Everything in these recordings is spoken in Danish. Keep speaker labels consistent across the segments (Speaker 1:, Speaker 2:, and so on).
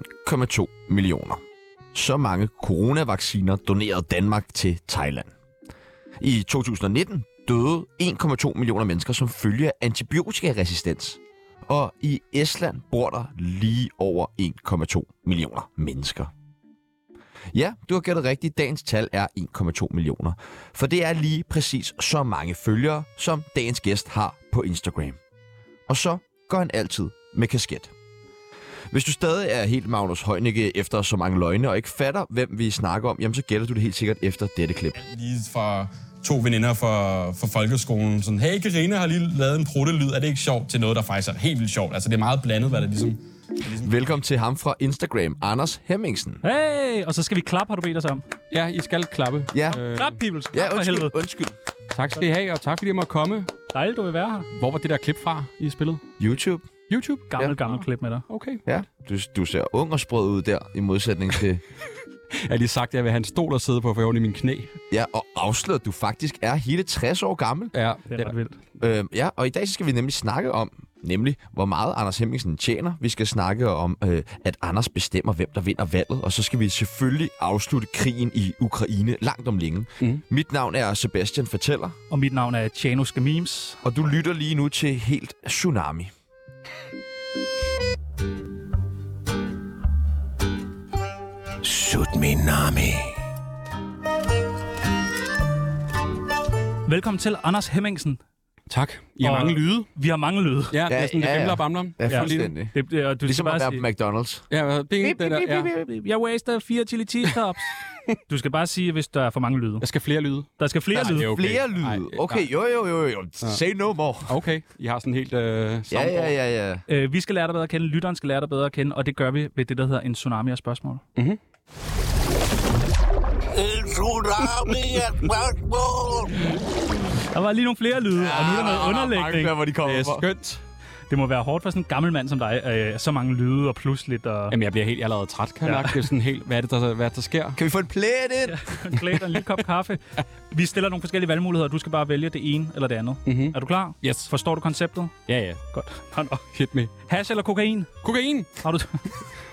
Speaker 1: 7,2 millioner. Så mange coronavacciner donerede Danmark til Thailand. I 2019 døde 1,2 millioner mennesker som følge af antibiotikaresistens. Og i Estland bor der lige over 1,2 millioner mennesker. Ja, du har gættet rigtigt. Dagens tal er 1,2 millioner. For det er lige præcis så mange følgere, som dagens gæst har på Instagram. Og så går han altid med kasket. Hvis du stadig er helt Magnus Heunicke efter så mange løgne og ikke fatter, hvem vi snakker om, jamen så gætter du det helt sikkert efter dette klip.
Speaker 2: Lige fra to veninder fra, fra folkeskolen. Sådan, hey, Karina har lige lavet en pruttelyd. Er det ikke sjovt til noget, der faktisk er helt vildt sjovt? Altså, det er meget blandet, hvad der ligesom...
Speaker 1: Velkommen til ham fra Instagram, Anders Hemmingsen.
Speaker 3: Hey! Og så skal vi klappe, har du bedt os om.
Speaker 4: Ja, I skal klappe.
Speaker 1: Ja,
Speaker 4: Øh,
Speaker 3: Klap, peoples! Klap
Speaker 1: ja
Speaker 3: for
Speaker 1: undskyld,
Speaker 3: helvede.
Speaker 1: undskyld.
Speaker 4: tak skal I have, og tak fordi I måtte komme.
Speaker 3: Dejligt, du vil være her.
Speaker 4: Hvor var det der klip fra, I spillede?
Speaker 1: YouTube.
Speaker 4: YouTube?
Speaker 3: Gammel,
Speaker 1: Ja.
Speaker 3: ja. gammel klip med dig.
Speaker 4: Okay.
Speaker 1: Ja, du, du ser ung og sprød ud der, i modsætning til...
Speaker 4: Jeg har lige sagt, at jeg vil have en stol at sidde på, for jeg har ondt i mine knæ.
Speaker 1: Ja, og afsløret, at du faktisk er hele 60 år gammel.
Speaker 4: Ja,
Speaker 3: Det er ret vildt.
Speaker 1: Øh, ja, og i dag så skal vi nemlig snakke om, nemlig hvor meget Anders Hemmingsen tjener. Vi skal snakke om, øh, at Anders bestemmer, hvem der vinder valget, og så skal vi selvfølgelig afslutte krigen i Ukraine langt om længe. Mm. Mit navn er Sebastian Fortæller,
Speaker 3: Og mit navn er Tjano Skamims.
Speaker 1: og du lytter lige nu til Helt Tsunami.
Speaker 5: Tsunami.
Speaker 3: Velkommen til, Anders Hemmingsen.
Speaker 4: tak. I har
Speaker 3: Og-
Speaker 4: mange lyde.
Speaker 3: Vi har mange lyde.
Speaker 4: Ja, det er sådan, det
Speaker 1: ja, ja.
Speaker 4: ja, ja. bamler.
Speaker 1: Ja, fuldstændig.
Speaker 3: Det, det, og du
Speaker 1: Ligesom
Speaker 3: skal
Speaker 1: at
Speaker 3: bare
Speaker 1: være
Speaker 3: sige,
Speaker 1: på McDonald's.
Speaker 4: Ja, det er det der. Ja.
Speaker 3: Jeg waster fire chili cheese tops. du skal bare sige, hvis der er for mange lyde.
Speaker 4: Jeg skal flere lyde.
Speaker 3: Der skal flere
Speaker 4: Nej,
Speaker 3: lyde.
Speaker 4: det er okay.
Speaker 1: Flere
Speaker 4: Nej,
Speaker 1: lyde.
Speaker 4: øh,
Speaker 1: Okay, jo, jo, jo, jo. Say no more.
Speaker 4: nej. Okay, I har sådan helt øh,
Speaker 1: Ja,
Speaker 4: soundboard.
Speaker 1: ja, ja, ja.
Speaker 3: Øh, vi skal lære dig bedre at kende, lytteren skal lære dig bedre at kende, og det gør vi ved det, der hedder en tsunami af spørgsmål.
Speaker 5: En tsunami er et spørgsmål.
Speaker 3: Der var lige nogle flere lyde, og nu er der noget underlægning.
Speaker 1: Mange hvor de
Speaker 4: Det
Speaker 1: kommer
Speaker 4: er
Speaker 1: fra.
Speaker 4: skønt.
Speaker 3: Det må være hårdt for sådan en gammel mand som dig, øh, så mange lyde og pludseligt og
Speaker 4: Jamen, jeg bliver helt jeg er allerede træt, kan jeg
Speaker 3: Ja.
Speaker 4: mærke. Det er sådan helt, hvad er det, der, hvad er det, der sker?
Speaker 1: Kan vi få en plæt ind?
Speaker 3: en plate og en lille kop kaffe. Vi stiller nogle forskellige valgmuligheder, og du skal bare vælge det ene eller det andet.
Speaker 4: Mhm.
Speaker 3: Er du klar?
Speaker 4: Yes.
Speaker 3: Forstår du konceptet?
Speaker 4: Ja, ja.
Speaker 3: Godt. Nå, nå.
Speaker 4: Hit me.
Speaker 3: Hash eller kokain?
Speaker 4: Kokain!
Speaker 3: Har du,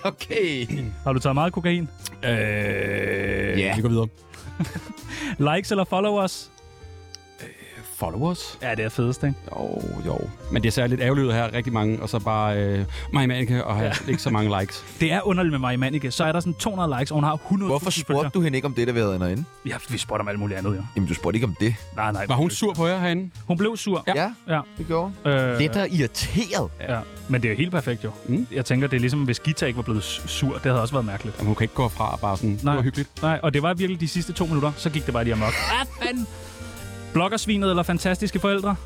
Speaker 1: Okay.
Speaker 3: har du taget meget kokain?
Speaker 4: Øh,
Speaker 1: Ja.
Speaker 4: Vi går videre.
Speaker 3: Likes eller followers?
Speaker 4: Followers?
Speaker 3: Ja, det er fedest, ikke?
Speaker 4: Jo, jo. Men det ser lidt ærgerligt ud her. Rigtig mange. Og så bare øh, mig, Manke, og ja. ikke så mange likes.
Speaker 3: Det er underligt med mig, Manike. Så er der sådan 200 likes, og hun har 100
Speaker 1: Hvorfor spurgte du hende ikke om det, der vi havde herinde?
Speaker 3: Ja, vi spurgte om alt muligt andet, jo.
Speaker 1: Jamen, du spurgte ikke om det.
Speaker 3: Nej, nej.
Speaker 4: Var hun sur på jer herinde?
Speaker 3: Hun blev sur.
Speaker 4: Ja.
Speaker 1: Ja,
Speaker 3: Ja.
Speaker 1: det gjorde hun.
Speaker 3: Øh,
Speaker 1: Lidt og irriteret.
Speaker 3: ja. Men det er jo helt perfekt, jo.
Speaker 4: Mm.
Speaker 3: Jeg tænker, det er ligesom, hvis Gita ikke var blevet su- sur. Det havde også været mærkeligt.
Speaker 4: Jamen, hun kan ikke gå fra og bare sådan, Nej.
Speaker 3: Nej.
Speaker 4: det var hyggeligt.
Speaker 3: Nej, og det var virkelig de sidste to minutter, så gik det bare lige amok. Ah, fanden! Bloggersvinet eller fantastiske forældre?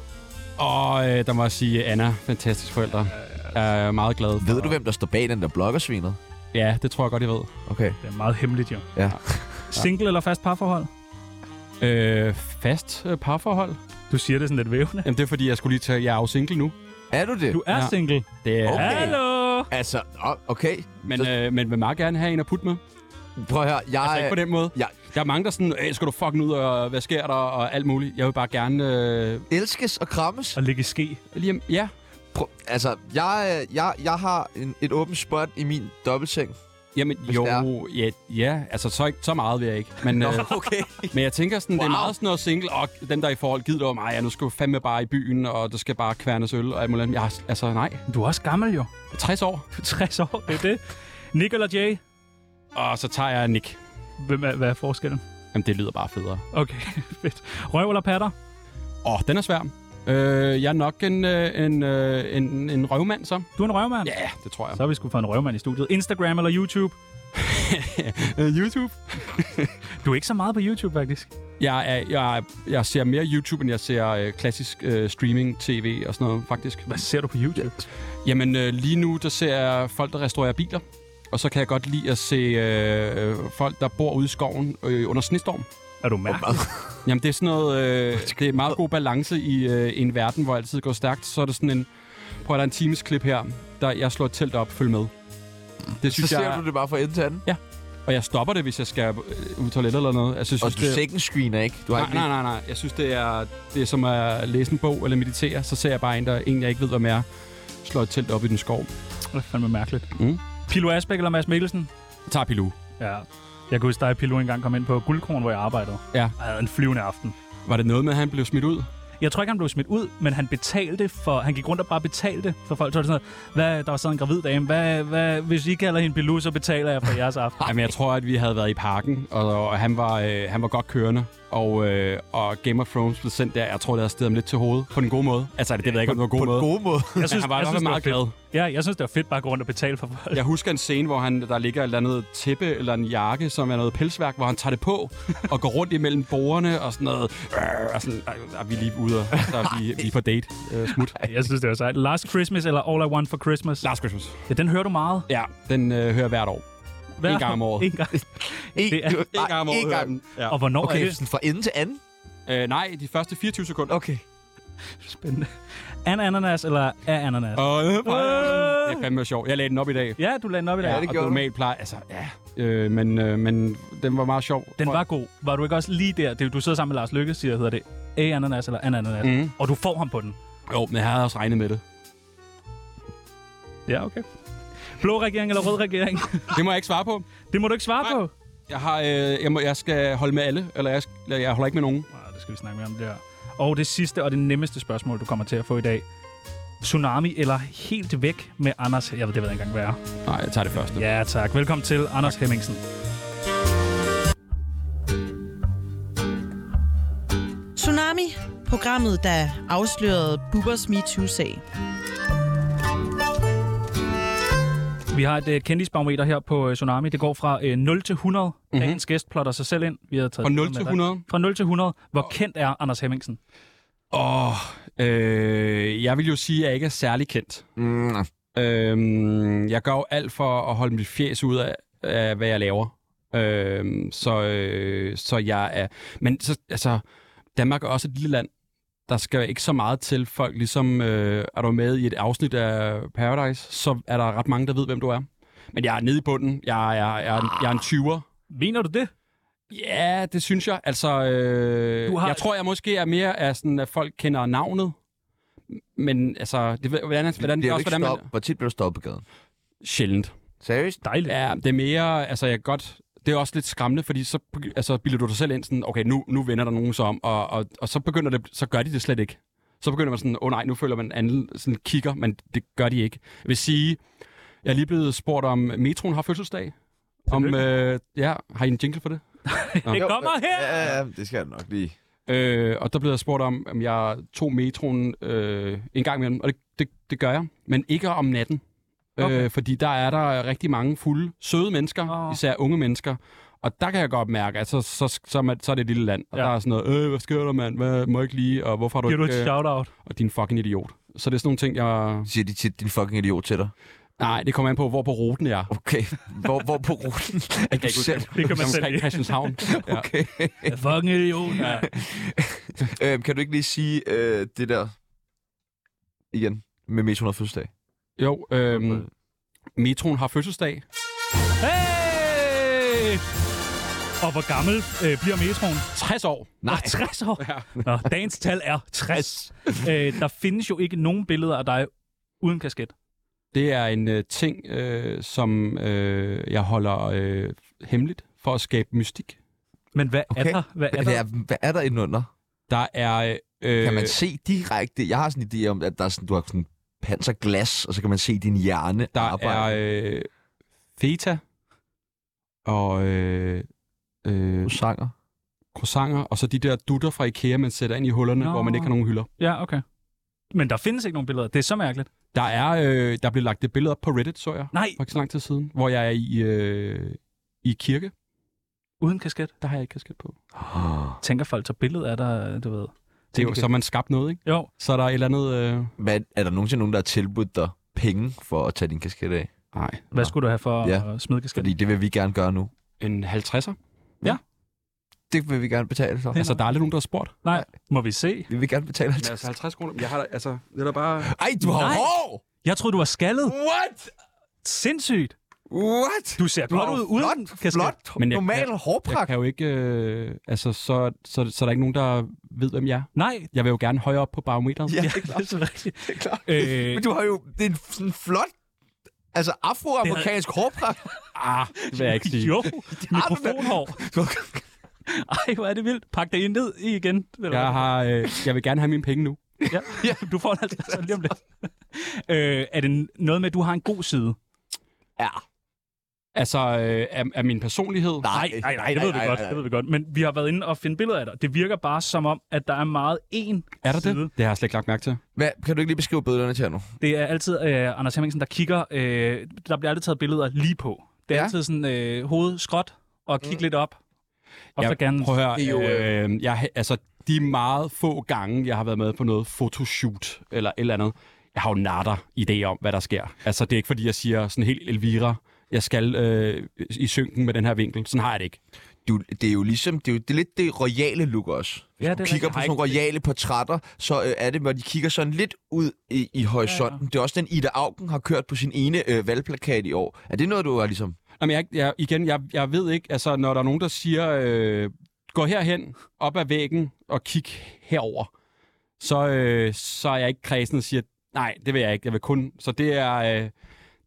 Speaker 4: Og øh, der må jeg sige, Anna, fantastisk forældre. Jeg er meget glad for.
Speaker 1: Ved du, hvem der står bag den der bloggersvinet?
Speaker 4: Ja, det tror jeg godt, I ved.
Speaker 1: Okay.
Speaker 3: Det er meget hemmeligt, jo.
Speaker 1: Ja.
Speaker 3: Single eller fast parforhold?
Speaker 4: Øh, fast øh, parforhold?
Speaker 3: Du siger det sådan lidt vævende.
Speaker 4: Jamen, det er fordi, jeg skulle lige tage, jeg er jo single nu.
Speaker 1: Er du det?
Speaker 3: Du er
Speaker 4: Ja.
Speaker 3: single.
Speaker 4: Det er,
Speaker 1: Okay.
Speaker 3: Hallo!
Speaker 1: Altså, åh, okay.
Speaker 4: Men, øh, men vil meget gerne have en at putte med.
Speaker 1: Prøv at høre, jeg...
Speaker 4: Altså, ikke på den måde.
Speaker 1: Jeg
Speaker 4: Der er mange, der er sådan, "Øh, skal du fucking ud, og hvad sker der, og alt muligt. Jeg vil bare gerne... Øh,
Speaker 1: elskes og krammes.
Speaker 3: Og ligge i ske.
Speaker 4: lige, ja,
Speaker 1: Prøv, altså, jeg, øh, jeg, jeg har en, et åbent spot i min dobbeltseng.
Speaker 4: Jamen
Speaker 1: Hvis
Speaker 4: jo,
Speaker 1: det
Speaker 4: ja, ja, altså så, ikke- så meget vil jeg ikke. Men, øh,
Speaker 1: Okay.
Speaker 4: men jeg tænker sådan, wow. det
Speaker 1: Wow.
Speaker 4: er meget sådan noget single, og den der i forhold gider om, ja, nu skal du fandme bare i byen, og du skal bare kværnes øl og alt muligt andet. Jeg, har- altså nej,
Speaker 3: Du er også gammel, jo.
Speaker 4: 60 år,
Speaker 3: Du er 60 år, det er det. Nick eller Jay?
Speaker 4: og så tager jeg Nick.
Speaker 3: Hvem er, hvad er forskellen?
Speaker 4: Jamen det lyder bare federe.
Speaker 3: Okay, fedt. Røv eller patter?
Speaker 4: Åh, den er svær. Øh, jeg er nok en, øh, en, øh, en, en røvmand så.
Speaker 3: Du er en røvmand?
Speaker 4: Ja, det tror jeg.
Speaker 3: Så har vi skulle få en røvmand i studiet. Instagram eller YouTube?
Speaker 4: Øh, YouTube?
Speaker 3: Du er ikke så meget på YouTube, faktisk.
Speaker 4: Jeg, er, jeg, er- jeg ser mere YouTube, end jeg ser øh, klassisk øh, streaming, tv og sådan noget faktisk.
Speaker 3: Hvad ser du på YouTube?
Speaker 4: Jamen øh, lige nu, der ser jeg folk, der restaurerer biler. Og så kan jeg godt lide at se øh, øh, folk, der bor ude i skoven øh, under snestorm.
Speaker 3: Er du mærkelig?
Speaker 4: Jamen det er sådan noget, øh, det er meget god balance i øh, en verden, hvor altid går stærkt. Så er det sådan en, prøv at der er en times klip her, der jeg slår et telt op, følg med. Det
Speaker 1: Så
Speaker 4: synes
Speaker 1: ser
Speaker 4: jeg,
Speaker 1: du det bare fra ende til anden.
Speaker 4: og jeg stopper det, hvis jeg skal øh, ud på toilettet eller noget. Altså, jeg
Speaker 1: Og
Speaker 4: synes,
Speaker 1: du
Speaker 4: det,
Speaker 1: second screener ikke? Du har
Speaker 4: nej,
Speaker 1: ikke
Speaker 4: nej, nej, nej. Jeg synes, det er, det er som at læse en bog eller meditere. Så ser jeg bare en, der en, jeg ikke ved, hvad med er, slår et telt op i den skov.
Speaker 3: Det er fandme mærkeligt.
Speaker 4: Mm.
Speaker 3: Pilo Asbæk eller Mads Mikkelsen?
Speaker 4: Tager Pilou.
Speaker 3: Ja. Jeg kunne huske dig, Pilo, engang kom ind på Guldkorn, hvor jeg arbejdede.
Speaker 4: Ja.
Speaker 3: Jeg havde en flyvende aften.
Speaker 4: Var det noget med, at han blev smidt ud?
Speaker 3: Jeg tror ikke, han blev smidt ud, men han betalte for... Han gik rundt og bare betalte for folk. Så var det sådan noget, hvad, der var sådan en gravid dame. Hvad, hvad, hvis I kalder hende Pilou, så betaler jeg for jeres aften.
Speaker 4: Jamen, jeg tror, at vi havde været i parken, og, og han, var, øh, han var godt kørende. Og, øh, og Game of Thrones blev sendt der. Jeg tror, det havde stedet ham lidt til hovedet. På den gode måde. Altså, det, det ved jeg ikke, om det var
Speaker 1: På en
Speaker 4: en god måde.
Speaker 1: god måde.
Speaker 3: Jeg
Speaker 4: han var i hvert fald meget
Speaker 3: det var fedt. Ja, jeg synes, det var fedt bare at gå rundt og betale for folk.
Speaker 4: Jeg husker en scene, hvor han, der ligger et eller andet tæppe eller en jakke, som er noget pelsværk, hvor han tager det på og går rundt imellem borgerne og sådan noget. Øh, Og sådan, "Ej, er vi lige ude, og så er vi, vi er på date. Øh, smut.
Speaker 3: Jeg synes, det var sejt. Last Christmas eller All I Want for Christmas?
Speaker 4: Last Christmas.
Speaker 3: Ja, den hører du meget.
Speaker 4: Ja, den øh, hører jeg hvert år.
Speaker 3: Hver
Speaker 4: En gang om året.
Speaker 3: En gang.
Speaker 1: En,
Speaker 3: Det er-
Speaker 1: en gang om
Speaker 4: året
Speaker 1: En
Speaker 4: hører
Speaker 1: gang.
Speaker 4: jeg den. Ja.
Speaker 3: Og hvornår okay.
Speaker 1: Okay,
Speaker 3: er det
Speaker 1: sådan fra ende til anden.
Speaker 4: Øh, nej, de første 24 sekunder.
Speaker 1: Okay.
Speaker 3: spændende? An ananas eller af ananas?
Speaker 4: Og, øh, det er fandme sjovt. Jeg lagde den op i dag.
Speaker 3: Ja, du lagde den op i dag.
Speaker 1: Ja, det
Speaker 4: og
Speaker 1: gjorde du.
Speaker 4: normalt plejer, altså, ja. Øh, men, øh, men den var meget sjov.
Speaker 3: Den var god. Var du ikke også lige der? Det, du sidder sammen med Lars Lykke, siger hedder det. A ananas eller an ananas. Mm.
Speaker 4: Mm.
Speaker 3: Og du får ham på den.
Speaker 4: Jo, men jeg havde også regnet med det.
Speaker 3: Ja, okay. Blå regering eller rød regering?
Speaker 4: Det må jeg ikke svare på.
Speaker 3: det må du ikke svare
Speaker 4: Nej.
Speaker 3: på.
Speaker 4: Jeg, har, øh, jeg, må, jeg skal holde med alle, eller jeg, skal- eller jeg holder ikke med nogen.
Speaker 3: Nej, det skal vi snakke mere om der. Og det sidste og det nemmeste spørgsmål, du kommer til at få i dag. Tsunami eller helt væk med Anders... Jeg ved, det ved jeg ikke engang, hvad er.
Speaker 4: Nej, jeg tager det første.
Speaker 3: Ja, tak. Velkommen til, Anders tak. Hemmingsen.
Speaker 6: Tsunami, programmet, der afslørede Bubbers MeToo-sag.
Speaker 3: Vi har et uh, kendisbarometer her på uh, Tsunami. Det går fra uh, 0 til 100. Mm-hmm. Dagens gæst plotter sig selv ind. Vi har taget
Speaker 4: Mhm. Fra
Speaker 3: et
Speaker 4: 0
Speaker 3: billede
Speaker 4: til
Speaker 3: med dig.
Speaker 4: 100?
Speaker 3: Fra 0 til 100. Hvor kendt er Anders Hemmingsen?
Speaker 4: Åh, oh, øh, jeg vil jo sige, at jeg ikke er særlig kendt.
Speaker 1: Mm,
Speaker 4: Øhm, jeg gør jo alt for at holde mit fjes ud af, af hvad jeg laver. Øhm, så, øh, så jeg er... Men så, altså, Danmark er også et lille land. Der skal ikke så meget til folk. Ligesom øh, er du med i et afsnit af Paradise, så er der ret mange, der ved, hvem du er. Men jeg er nede i bunden. Jeg er, jeg er, en- jeg er en 20'er.
Speaker 3: Mener du det?
Speaker 4: Ja, det synes jeg. Altså, øh,
Speaker 3: Du
Speaker 4: du
Speaker 3: har-
Speaker 4: har... jeg tror, jeg måske er mere af sådan, at folk kender navnet. Men altså, det, ved- hvordan, hvordan,
Speaker 1: det er jo
Speaker 4: også,
Speaker 1: ikke
Speaker 4: hvordan
Speaker 1: stop. Hvor tit bliver du stoppet på gaden?
Speaker 4: Sjældent.
Speaker 1: Seriøst?
Speaker 3: Dejligt. Ja.
Speaker 4: Ja, det er mere, altså jeg kan godt, det er også lidt skræmmende, fordi så begy- altså, bilder du dig selv ind sådan, okay, nu, nu vender der nogen sig om, og, og, og så begynder det, så gør de det slet ikke. Så begynder man sådan, åh oh, nej, nu føler man anden, sådan kigger, men det gør de ikke. Jeg vil sige, jeg er lige blevet spurgt om, metroen har fødselsdag. Om, øh, ja, har I en jingle for det?
Speaker 3: Det
Speaker 1: Jo,
Speaker 3: kommer her!
Speaker 1: Ja, ja, ja, det skal jeg nok lige.
Speaker 4: Øh, og der blev jeg spurgt om, om jeg tog metroen øh, en gang imellem, og det, det, det gør jeg, men ikke om natten.
Speaker 3: Okay.
Speaker 4: Okay. Øh, fordi der er der rigtig mange fulde, søde mennesker,
Speaker 3: Åh.
Speaker 4: oh. især unge mennesker. Og der kan jeg godt mærke, at så, så, så, så, er man- så er det et lille land, og
Speaker 3: Ja.
Speaker 4: ja. der er sådan noget, øh, hvad sker der, mand? Hvad må jeg ikke lige? Og hvorfor har du
Speaker 3: Giver du et
Speaker 4: ikke... øh,
Speaker 3: shout-out?
Speaker 4: og din fucking idiot. Så det er sådan nogle ting, jeg...
Speaker 1: Siger de tit, din fucking idiot til dig?
Speaker 4: Nej, det kommer an på, hvor på ruten jeg er.
Speaker 1: Okay. Hvor, hvor på ruten? Er du selv?
Speaker 3: Det kan man selv
Speaker 4: Omkring
Speaker 3: ikke.
Speaker 4: Christianshavn. ja.
Speaker 1: Okay.
Speaker 3: Ja, fucking idiot. Ja.
Speaker 1: øhm, kan du ikke lige sige øh, det der igen med Metro 100 fødselsdag?
Speaker 4: Jo, øhm, metroen har fødselsdag.
Speaker 3: Hey! Og hvor gammel øh, bliver metroen?
Speaker 4: 60 år.
Speaker 1: Nej.
Speaker 3: 60 år? Ja. Nå, dagens tal er 60. øh, der findes jo ikke nogen billeder af dig uden kasket.
Speaker 4: Det er en øh, ting, øh, som øh, jeg holder øh, hemmeligt for at skabe mystik.
Speaker 3: Men hvad okay. er
Speaker 1: Okay.
Speaker 3: der? Hvad er
Speaker 1: Hvad
Speaker 3: der?
Speaker 1: er, hvad er der indenunder?
Speaker 4: Der er... Øh,
Speaker 1: Kan man se direkte? Jeg har sådan en idé om, at der er sådan, du har sådan panserglas, og så kan man se din hjerne
Speaker 4: der
Speaker 1: arbejde.
Speaker 4: er øh, feta og øh, øh,
Speaker 1: sanger.
Speaker 4: croissanter, og så de der dutter fra Ikea, man sætter ind i hullerne,
Speaker 3: Nå.
Speaker 4: Nå. hvor man ikke har nogen hylder.
Speaker 3: Ja, okay. Men der findes ikke nogen billeder. Det er så mærkeligt.
Speaker 4: Der er øh, der blev lagt et billede op på Reddit, så jeg,
Speaker 3: Nej,
Speaker 4: for ikke så lang tid siden, hvor jeg er i, øh, i kirke.
Speaker 3: uden kasket.
Speaker 4: Der har jeg ikke kasket på.
Speaker 3: Tænker folk tager billeder af dig, du ved.
Speaker 4: Det er jo, så har man skabt noget, ikke?
Speaker 3: Jo,
Speaker 4: Så er der et eller andet... Øh,
Speaker 1: Hvad, er der nogensinde nogen, der har tilbudt dig penge for at tage din kasket af?
Speaker 4: nej,
Speaker 3: hvad skulle du have for ja.
Speaker 1: Ja.
Speaker 3: at smide kasket?
Speaker 1: Fordi det vil vi gerne gøre nu.
Speaker 4: en 50'er.
Speaker 1: Det vil vi gerne betale for.
Speaker 4: Altså, der er aldrig nogen, der har spurgt.
Speaker 3: Nej, må vi se?
Speaker 1: Vi vil gerne betale
Speaker 4: Men
Speaker 1: 50.
Speaker 4: altså 50 kroner, jeg har da- altså, det er da bare...
Speaker 1: Ej, du har
Speaker 3: Nej.
Speaker 1: hår!
Speaker 3: Jeg troede, du var skaldet.
Speaker 1: What?
Speaker 3: Sindssygt.
Speaker 1: What?
Speaker 3: Du ser
Speaker 1: Du har
Speaker 3: godt ud uden
Speaker 1: flot,
Speaker 3: kasket.
Speaker 1: flot,
Speaker 4: Men jeg-
Speaker 1: normal
Speaker 4: Jeg
Speaker 1: hårpragt.
Speaker 4: kan jo ikke, øh, altså, så, så, så er der ikke nogen, der ved, hvem jeg er.
Speaker 3: Nej,
Speaker 4: Jeg vil jo gerne højere op på barometeret.
Speaker 1: Ja,
Speaker 3: det er klart. Det er klart.
Speaker 1: Men du har jo det er en sådan flot Altså afroamerikansk hårpragt.
Speaker 4: Ah, det vil jeg ikke sige.
Speaker 3: Jo,
Speaker 1: har du da.
Speaker 3: mikrofonhår. Ej, hvor er det vildt. Pak det ind ned i igen. Eller
Speaker 4: Jeg,
Speaker 3: hvad?
Speaker 4: har, øh, jeg vil gerne have mine penge nu.
Speaker 3: Ja. ja. Du får den altså lige om lidt. øh, er det noget med, at du har en god side?
Speaker 1: ja.
Speaker 4: Altså, øh, af, af min personlighed.
Speaker 3: nej, nej, det ved vi godt. Det ved vi godt. Men vi har været inde og finde billeder af dig. Det virker bare som om, at der er meget én
Speaker 4: Er der
Speaker 3: side.
Speaker 4: det? Det har jeg slet ikke lagt mærke til.
Speaker 1: Hvad, kan du ikke lige beskrive billederne til her nu?
Speaker 3: Det er altid øh, Anders Hemmingsen, der kigger. Øh, der bliver aldrig taget billeder lige på. Det er
Speaker 1: Ja.
Speaker 3: ja. altid sådan øh, hovedet skråt og kigge mm. lidt op. Og så
Speaker 4: Jeg-
Speaker 3: gerne...
Speaker 4: Prøv at høre,
Speaker 1: Det er jo,
Speaker 4: øh, jeg, altså, de meget få gange, jeg har været med på noget fotoshoot eller et eller andet, jeg har jo natter idé om, hvad der sker. Altså, det er ikke, fordi jeg siger sådan helt Elvira, jeg skal øh, i synken med den her vinkel. Sådan har jeg det ikke.
Speaker 1: Du, det er jo ligesom, det er, jo, det er lidt det royale look også. Hvis
Speaker 3: Ja,
Speaker 1: ja,
Speaker 3: det
Speaker 1: du
Speaker 3: er
Speaker 1: kigger på
Speaker 3: rigtigt.
Speaker 1: sådan nogle royale portrætter, så øh, er det, hvor de kigger sådan lidt ud i, i horisonten. Ja, ja. Det er også den, Ida Augen har kørt på sin ene øh, valgplakat i år. Er det noget, du har ligesom...
Speaker 4: Jamen, jeg, er ikke- jeg, igen, jeg, jeg ved ikke, altså, når der er nogen, der siger, øh, gå herhen, op ad væggen og kig herover, så, øh, så er jeg ikke kredsen og siger, nej, det vil jeg ikke, jeg vil kun. Så det er, øh,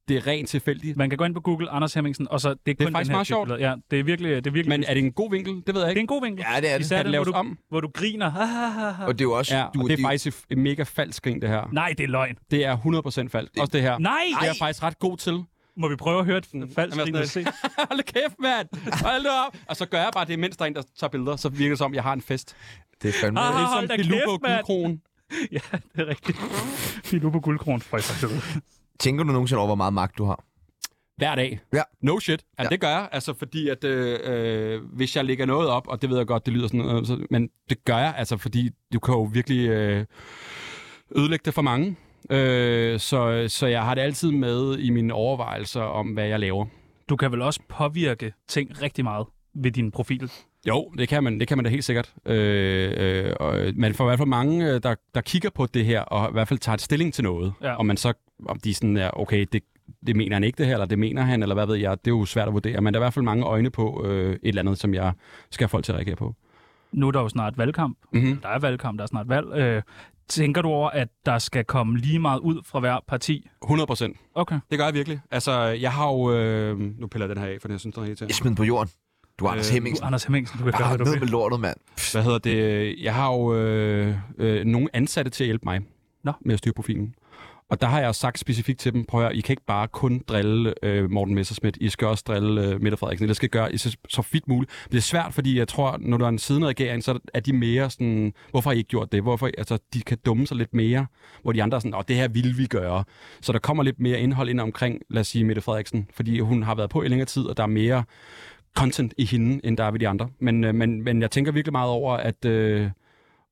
Speaker 4: det er rent tilfældigt.
Speaker 3: Man kan gå ind på Google, Anders Hemmingsen, og så... Det er, kun
Speaker 4: faktisk
Speaker 3: den her
Speaker 4: meget sjovt.
Speaker 3: billeder. Ja, det er virkelig... Det er, virkelig
Speaker 4: Men er det en god vinkel? Det ved jeg
Speaker 3: det er
Speaker 4: ikke.
Speaker 3: en god vinkel.
Speaker 1: Ja, det er det.
Speaker 3: Især
Speaker 4: Kan
Speaker 3: den,
Speaker 4: det
Speaker 3: hvor
Speaker 4: laves
Speaker 3: du,
Speaker 4: om?
Speaker 3: hvor du griner. Ha, ha, ha, ha.
Speaker 1: Og det er jo også...
Speaker 4: Ja,
Speaker 1: du,
Speaker 4: og det er
Speaker 1: jo-
Speaker 4: faktisk et mega falsk grin, det her.
Speaker 3: Nej, det er løgn.
Speaker 4: Det er 100% falsk. Også det her.
Speaker 3: Nej!
Speaker 4: Det er jeg faktisk ret god til.
Speaker 3: Må vi prøve at høre et falsk
Speaker 4: Jamen,
Speaker 3: rim?
Speaker 4: jeg er sådan
Speaker 3: Se.
Speaker 4: Hold kæft, mand! Hold nu op! Og så gør jeg bare det, mens der er en, der tager billeder, så virker det som, jeg har en fest.
Speaker 1: det er fandme...
Speaker 3: Ah,
Speaker 4: det er
Speaker 3: hold da
Speaker 4: det
Speaker 3: kæft,
Speaker 4: lukker
Speaker 3: mand!
Speaker 4: guldkronen.
Speaker 3: Ja, det er rigtigt. Filippo på guldkron, for eksempel.
Speaker 1: Tænker du nogensinde over, hvor meget magt du har?
Speaker 4: Hver dag.
Speaker 1: Ja.
Speaker 4: No shit.
Speaker 1: Ja.
Speaker 4: Ja, ja. det gør jeg. Altså, fordi at øh, øh, hvis jeg lægger noget op, og det ved jeg godt, det lyder sådan noget, øh, så, men det gør jeg, altså, fordi du kan jo virkelig øh, ødelægge det for mange. Øh, så, så jeg har det altid med i mine overvejelser om, hvad jeg laver.
Speaker 3: Du kan vel også påvirke ting rigtig meget ved din profil.
Speaker 4: Jo, det kan man, det kan man da helt sikkert. Øh, øh, og, øh, man får i hvert fald mange, øh, der, der kigger på det her, og i hvert fald tager et stilling til noget.
Speaker 3: Ja.
Speaker 4: Om man så, om de sådan er, okay, det, det mener han ikke det her, eller det mener han, eller hvad ved jeg, det er jo svært at vurdere, men der er i hvert fald mange øjne på øh, et eller andet, som jeg skal have folk til at reagere på.
Speaker 3: Nu er der jo snart valgkamp.
Speaker 4: Mhm.
Speaker 3: Der er valgkamp, der er snart valg. Øh, tænker du over, at der skal komme lige meget ud fra hver parti?
Speaker 4: 100 procent.
Speaker 3: Okay.
Speaker 4: Det gør jeg virkelig. Altså, jeg har jo... Øh, nu piller jeg den her af, for den, jeg synes, den er helt til.
Speaker 1: Smid den på jorden. Du er Anders
Speaker 4: Øh,
Speaker 3: Du,
Speaker 1: Hemmingsen.
Speaker 3: Anders Hemmingsen, du kan gøre,
Speaker 1: Ah,
Speaker 3: hvad du
Speaker 1: ned med
Speaker 3: vil.
Speaker 1: lortet, mand.
Speaker 4: Hvad hedder det? Jeg har jo øh, øh, nogle ansatte til at hjælpe mig
Speaker 3: Nå.
Speaker 4: med at styre profilen. Og der har jeg også sagt specifikt til dem, prøv at høre, I kan ikke bare kun drille øh, Morten Messerschmidt, I skal også drille øh, Mette Frederiksen, eller skal gøre I så, så fit muligt. Men det er svært, fordi jeg tror, når der er en siddende regering, så er de mere sådan, hvorfor har I ikke gjort det? Hvorfor, altså, de kan dumme sig lidt mere, hvor de andre er sådan, Nå, det her vil vi gøre. Så der kommer lidt mere indhold ind omkring, lad os sige, Mette Frederiksen, fordi hun har været på i længere tid, og der er mere content i hende, end der er ved de andre. Men, øh, men, men jeg tænker virkelig meget over at, øh,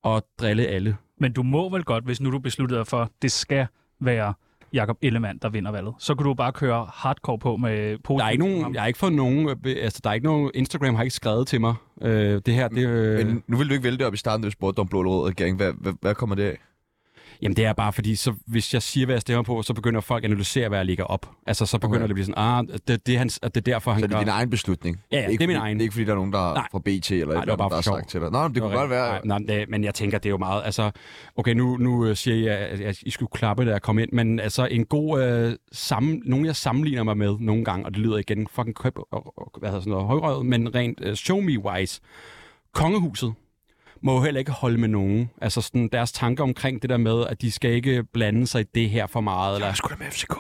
Speaker 4: at drille alle.
Speaker 3: Men du må vel godt, hvis nu du besluttede dig for, at det skal være Jakob Ellemann, der vinder valget. Så kan du bare køre hardcore på med positivt.
Speaker 4: Der er ikke nogen,
Speaker 3: program.
Speaker 4: jeg har ikke fået nogen, øh, be- altså der er ikke nogen, Instagram har ikke skrevet til mig, øh, det her, det, øh,
Speaker 1: Men nu vil du ikke vælte det op i starten, hvis du spurgte om blå eller rød regering. Hvad, hvad, hvad kommer det af?
Speaker 4: jamen det er bare fordi, så, hvis jeg siger, hvad jeg stemmer på, så begynder folk at analysere, hvad jeg ligger op. Altså så begynder
Speaker 1: Okay.
Speaker 4: det at blive sådan, ah, det, det, er, hans, at det er derfor, han
Speaker 1: Så det er
Speaker 4: gør.
Speaker 1: din egen beslutning?
Speaker 4: Ja, ja,
Speaker 1: ikke,
Speaker 4: det er min
Speaker 1: fordi-
Speaker 4: egen.
Speaker 1: Det er ikke, fordi der er nogen, der
Speaker 4: Nej.
Speaker 1: fra BT eller
Speaker 4: var
Speaker 1: et eller
Speaker 4: bare
Speaker 1: andet, der
Speaker 4: for
Speaker 1: har
Speaker 4: sjov.
Speaker 1: sagt til dig. Nå, men det
Speaker 4: var
Speaker 1: kunne godt
Speaker 4: rigtigt.
Speaker 1: være...
Speaker 4: Nej, nej, det- men jeg tænker, det er jo meget... Altså, okay, nu, nu øh, siger jeg, at- at I skulle klappe, da jeg kom ind, men altså en god... Øh, sammen, nogen, jeg sammenligner mig med nogle gange, og det lyder igen fucking køb, og, og, hvad hedder sådan noget, højrøvet, men rent øh, show me wise. Kongehuset må jo heller ikke holde med nogen. Altså sådan, deres tanker omkring det der med, at de skal ikke blande sig i det her for meget. Eller,
Speaker 1: Jeg skulle da med FCK.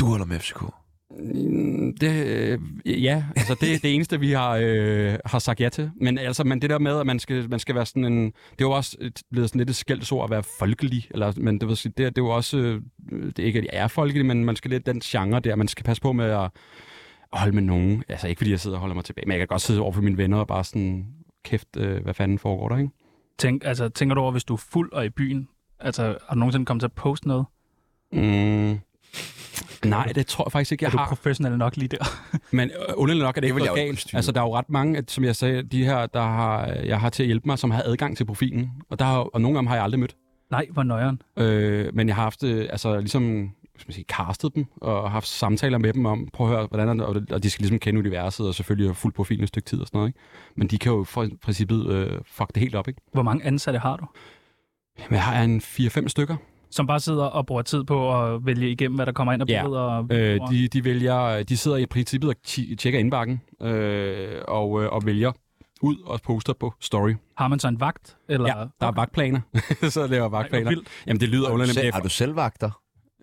Speaker 1: Du holder med FCK.
Speaker 4: Mm, Det, øh, ja, altså det er det eneste, vi har, øh, har sagt ja til. Men, altså, men det der med, at man skal, man skal være sådan en... Det er jo også et, blevet sådan lidt et skældsord at være folkelig. Eller, men det, vil sige, det, er- det er jo også... øh, Det er ikke, at jeg er folkelig, men man skal lidt den genre der. Man skal passe på med at holde med nogen. Altså ikke fordi jeg sidder og holder mig tilbage, men jeg kan godt sidde over for mine venner og bare sådan... Kæft, øh, hvad fanden foregår der, ikke?
Speaker 3: Tænk, altså, tænker du over, hvis du er fuld og i byen? Altså, har du nogensinde kommet til at poste noget?
Speaker 4: Mm. Nej, det tror jeg faktisk ikke,
Speaker 3: Er
Speaker 4: jeg
Speaker 3: du
Speaker 4: har.
Speaker 3: professionel nok lige der?
Speaker 4: Men øh, underligt nok er det ikke
Speaker 1: vil jeg
Speaker 4: noget
Speaker 1: jo ikke
Speaker 4: galt.
Speaker 1: bestyre.
Speaker 4: Altså, der er jo ret mange, at, som jeg sagde, de her, der har, jeg har til at hjælpe mig, som har adgang til profilen. Og, der har, og nogle af dem har jeg aldrig mødt.
Speaker 3: Nej, hvor nøjeren.
Speaker 4: Øh, men jeg har haft, øh, altså ligesom, skal man sige, castet dem, og haft samtaler med dem om, prøv at høre, hvordan er det, og- og de skal ligesom kende universet, og selvfølgelig have fuldt profilen et stykke tid og sådan noget, ikke? Men de kan jo for i princippet øh, fuck det helt op, ikke?
Speaker 3: Hvor mange ansatte har du?
Speaker 4: Men jeg har en 4-5 stykker,
Speaker 3: som bare sidder og bruger tid på at vælge igennem, hvad der kommer ind af
Speaker 4: Ja.
Speaker 3: billeder. Og
Speaker 4: Øh, de, de, vælger, de sidder i princippet og ti- tjekker indbakken øh, og, øh, og vælger ud og poster på story.
Speaker 3: Har man så en vagt? Eller?
Speaker 4: Ja, der er vagtplaner. så laver jeg vagtplaner.
Speaker 3: Ej, hvor
Speaker 4: Jamen, det lyder underligt. men
Speaker 1: Selv,
Speaker 4: det er-
Speaker 1: har du selv vagter?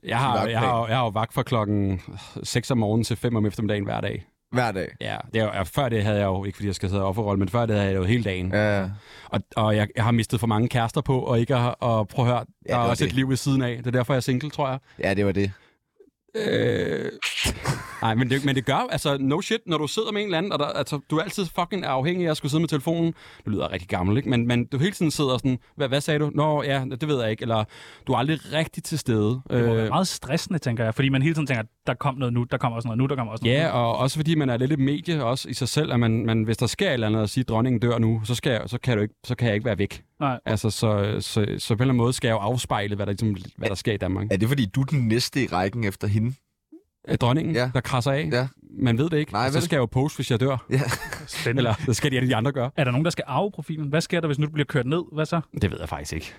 Speaker 4: Jeg har, jeg,
Speaker 1: vagtplan?
Speaker 4: har, jeg har jo vagt fra klokken 6 om morgenen til 5 om eftermiddagen hver dag.
Speaker 1: Hver dag.
Speaker 4: Ja, det er, jo- ja, før det havde jeg jo, ikke fordi jeg skal sidde og offerrolle, men før det havde jeg jo hele dagen. Ja.
Speaker 1: Ja.
Speaker 4: Og, og jeg, jeg har mistet for mange kærester på, og ikke at, og prøv at høre, der
Speaker 1: det
Speaker 4: er
Speaker 1: var
Speaker 4: også
Speaker 1: det.
Speaker 4: et liv ved siden af. Det er derfor, jeg er single, tror jeg.
Speaker 1: ja, det var det.
Speaker 4: Øh... Nej, men det, men det gør, altså no shit, når du sidder med en eller anden, og der, altså, du er altid fucking afhængig af at skulle sidde med telefonen. Du lyder rigtig gammel, ikke? Men, men du hele tiden sidder sådan, hvad, hvad sagde du? Nå, ja, det ved jeg ikke. Eller du er aldrig rigtig til stede. Øh,
Speaker 3: Det må være meget stressende, tænker jeg, fordi man hele tiden tænker, der kom noget nu, der kommer også noget nu, der kommer også noget
Speaker 4: Ja, og også fordi man er lidt et medie også i sig selv, at man, man hvis der sker et eller andet og siger, dronningen dør nu, så, skal, jeg- så, kan, du ikke, så kan jeg ikke være væk.
Speaker 3: nu. Nej.
Speaker 4: Altså, så, så, så, på en eller anden måde skal jeg jo afspejle, hvad der, ligesom, hvad der sker i Danmark.
Speaker 1: Er det, fordi du er den næste i rækken efter hende?
Speaker 4: At dronningen,
Speaker 1: Ja.
Speaker 4: ja. der krasser af,
Speaker 1: Ja.
Speaker 4: man ved det ikke,
Speaker 1: Nej,
Speaker 4: og så
Speaker 1: vel?
Speaker 4: skal jeg jo poste, hvis jeg dør.
Speaker 1: Ja.
Speaker 3: Spændende.
Speaker 4: Eller det skal de, alle de andre gøre.
Speaker 3: Er der nogen, der skal arve profilen? Hvad sker der, hvis nu du bliver kørt ned? Hvad så?
Speaker 4: Det ved jeg faktisk ikke.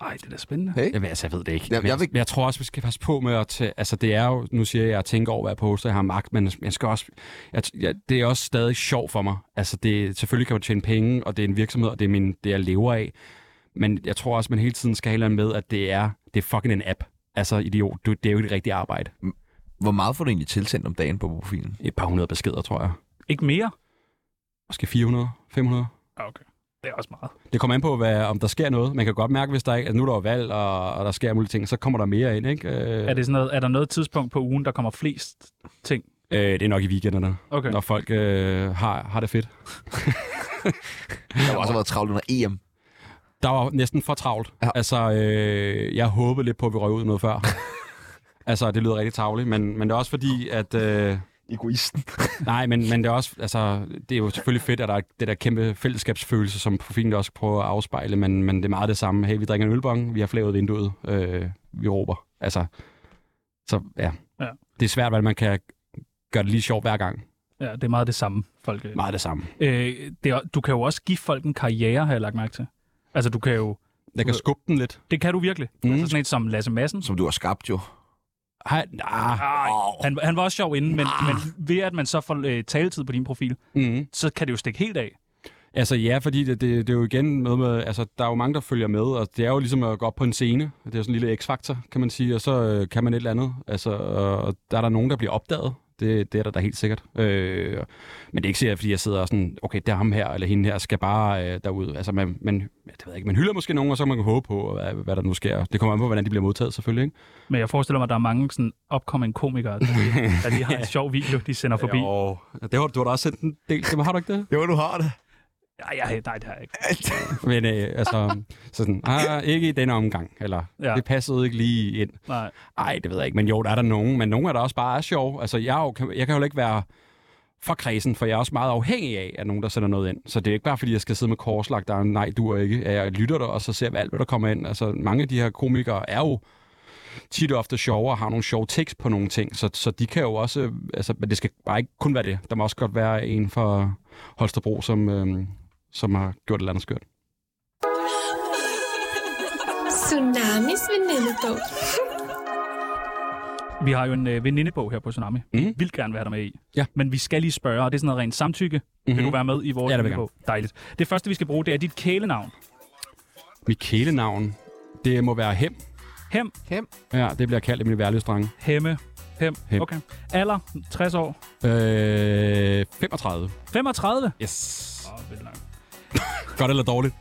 Speaker 3: Ej, det er da spændende.
Speaker 1: Hey.
Speaker 4: Jamen, altså, jeg ved det ikke.
Speaker 1: Ja,
Speaker 4: men,
Speaker 1: jeg vil-
Speaker 4: men jeg tror også, vi skal passe på med at... tæ- altså, det er jo... Nu siger jeg, at jeg tænker over, hvad jeg poster, jeg har magt, men jeg skal også... Jeg, t- jeg, det er også stadig sjovt for mig. Altså, det, selvfølgelig kan man tjene penge, og det er en virksomhed, og det er min, det, jeg lever af. Men jeg tror også, man hele tiden skal have et eller andet med, at det er, det er fucking en app. Altså, idiot, du, det er jo ikke det rigtige arbejde.
Speaker 1: Hvor meget får du egentlig tilsendt om dagen på profilen?
Speaker 4: Et par hundrede beskeder, tror jeg.
Speaker 3: Ikke mere?
Speaker 4: Måske 400, 500.
Speaker 3: Ah, Okay. Det er også meget.
Speaker 4: Det kommer an på, hvad, om der sker noget. Man kan godt mærke, hvis der ikke... Altså, nu er der jo valg, og, og der sker mulige ting, så kommer der mere ind, ikke? Øh,
Speaker 3: Er, det sådan noget, er der noget tidspunkt på ugen, der kommer flest ting?
Speaker 4: øh, det er nok i weekenderne.
Speaker 3: Okay.
Speaker 4: okay. når folk øh, har, har det fedt.
Speaker 1: Der har jo også været travlt under E EM.
Speaker 4: Der var næsten for travlt.
Speaker 1: Ja.
Speaker 4: Ja. Altså, øh, jeg håbede lidt på, at vi røg ud noget før. altså, det lyder rigtig tavligt, men, men det er også fordi, at... Øh,
Speaker 1: Egoisten.
Speaker 4: nej, men, men det er også... Altså, det er jo selvfølgelig fedt, at der er det der kæmpe fællesskabsfølelse, som profilen også prøver at afspejle, men, men det er meget det samme. Hey, vi drikker en ølbong, vi har flavet vinduet, øh, vi råber. Altså, så ja.
Speaker 3: Ja.
Speaker 4: Det er svært, at man kan gøre det lige sjovt hver gang.
Speaker 3: Ja, det er meget det samme, folk. øh,
Speaker 4: Meget det samme.
Speaker 3: Øh, det er, du kan jo også give folk en karriere, har jeg lagt mærke til. Altså, du kan jo...
Speaker 4: Jeg kan skubbe den lidt.
Speaker 3: Det kan du virkelig. Mm.
Speaker 4: Mm.
Speaker 3: Altså, sådan et som Lasse Madsen.
Speaker 1: Som du har skabt jo.
Speaker 4: Hej, nah.
Speaker 3: Ej, han, han var også sjov inden, men, men ved at man så får øh, taletid på din profil,
Speaker 4: mm.
Speaker 3: så kan det jo stikke helt af.
Speaker 4: Altså ja, fordi det, det, det er jo igen noget med, altså der er jo mange, der følger med, og det er jo ligesom at gå op på en scene. Det er jo sådan en lille x-faktor, kan man sige, og så øh, kan man et eller andet. Altså, og, og der er der nogen, der bliver opdaget. Det, det er der da helt sikkert. Øh, og- men det er ikke sikkert, fordi jeg sidder og sådan, okay, det er ham her eller hende her, skal bare øh, derud. Altså man, man, ja, det ved jeg ikke, man hylder måske nogen, og så kan man kan håbe på, hvad, hvad der nu sker. Det kommer an på, hvordan de bliver modtaget selvfølgelig. Ikke?
Speaker 3: Men jeg forestiller mig, at der er mange sådan upcoming komikere, der lige, der lige har en sjov video, de sender forbi.
Speaker 4: Jo, det har, du har da også sendt en del. Jamen, Har du ikke det?
Speaker 1: Jo, du har det.
Speaker 3: Ej, ej, nej, det har jeg ikke.
Speaker 4: Men øh, altså, så sådan, ah, ikke i denne omgang, eller
Speaker 3: Ja.
Speaker 4: ja. det passede ikke lige ind.
Speaker 3: Nej.
Speaker 4: Ej, det ved jeg ikke, men jo, der er der nogen, men nogen er der også bare er sjov. Altså, jeg, er jo, kan- jeg kan jo ikke være for kredsen, for jeg er også meget afhængig af, at nogen, der sender noget ind. Så det er ikke bare, fordi jeg skal sidde med korslag, der er en nej, du er ikke. at Jeg lytter der, og så ser jeg alt, hvad der kommer ind. Altså, mange af de her komikere er jo tit og ofte sjove og har nogle sjove tekst på nogle ting, så, så de kan jo også, øh, altså, men det skal bare ikke kun være det. Der må også godt være en fra Holstebro, som, øhm, som har gjort et eller andet skørt.
Speaker 7: Tsunamis venindebog.
Speaker 3: Vi har jo en øh, venindebog her på Tsunami. Vi
Speaker 4: Mm.
Speaker 3: vil gerne være der med i.
Speaker 4: Ja.
Speaker 3: Men vi skal lige spørge, og det er sådan noget rent samtykke. Mm-hmm. Vil du være med i vores
Speaker 4: Ja, det vil jeg
Speaker 3: venindebog? Dejligt. Det første, vi skal bruge, det er dit kælenavn.
Speaker 4: Mit kælenavn, det må være Hem.
Speaker 3: Hem,
Speaker 4: Ja, det bliver kaldt i min værløsdrenge.
Speaker 3: hemme, hem.
Speaker 4: Hem.
Speaker 3: Okay. Alder, 60 år.
Speaker 4: Øh, 35.
Speaker 3: 35?
Speaker 4: Yes.
Speaker 3: Åh, vildt langt.
Speaker 4: Godt eller dårligt?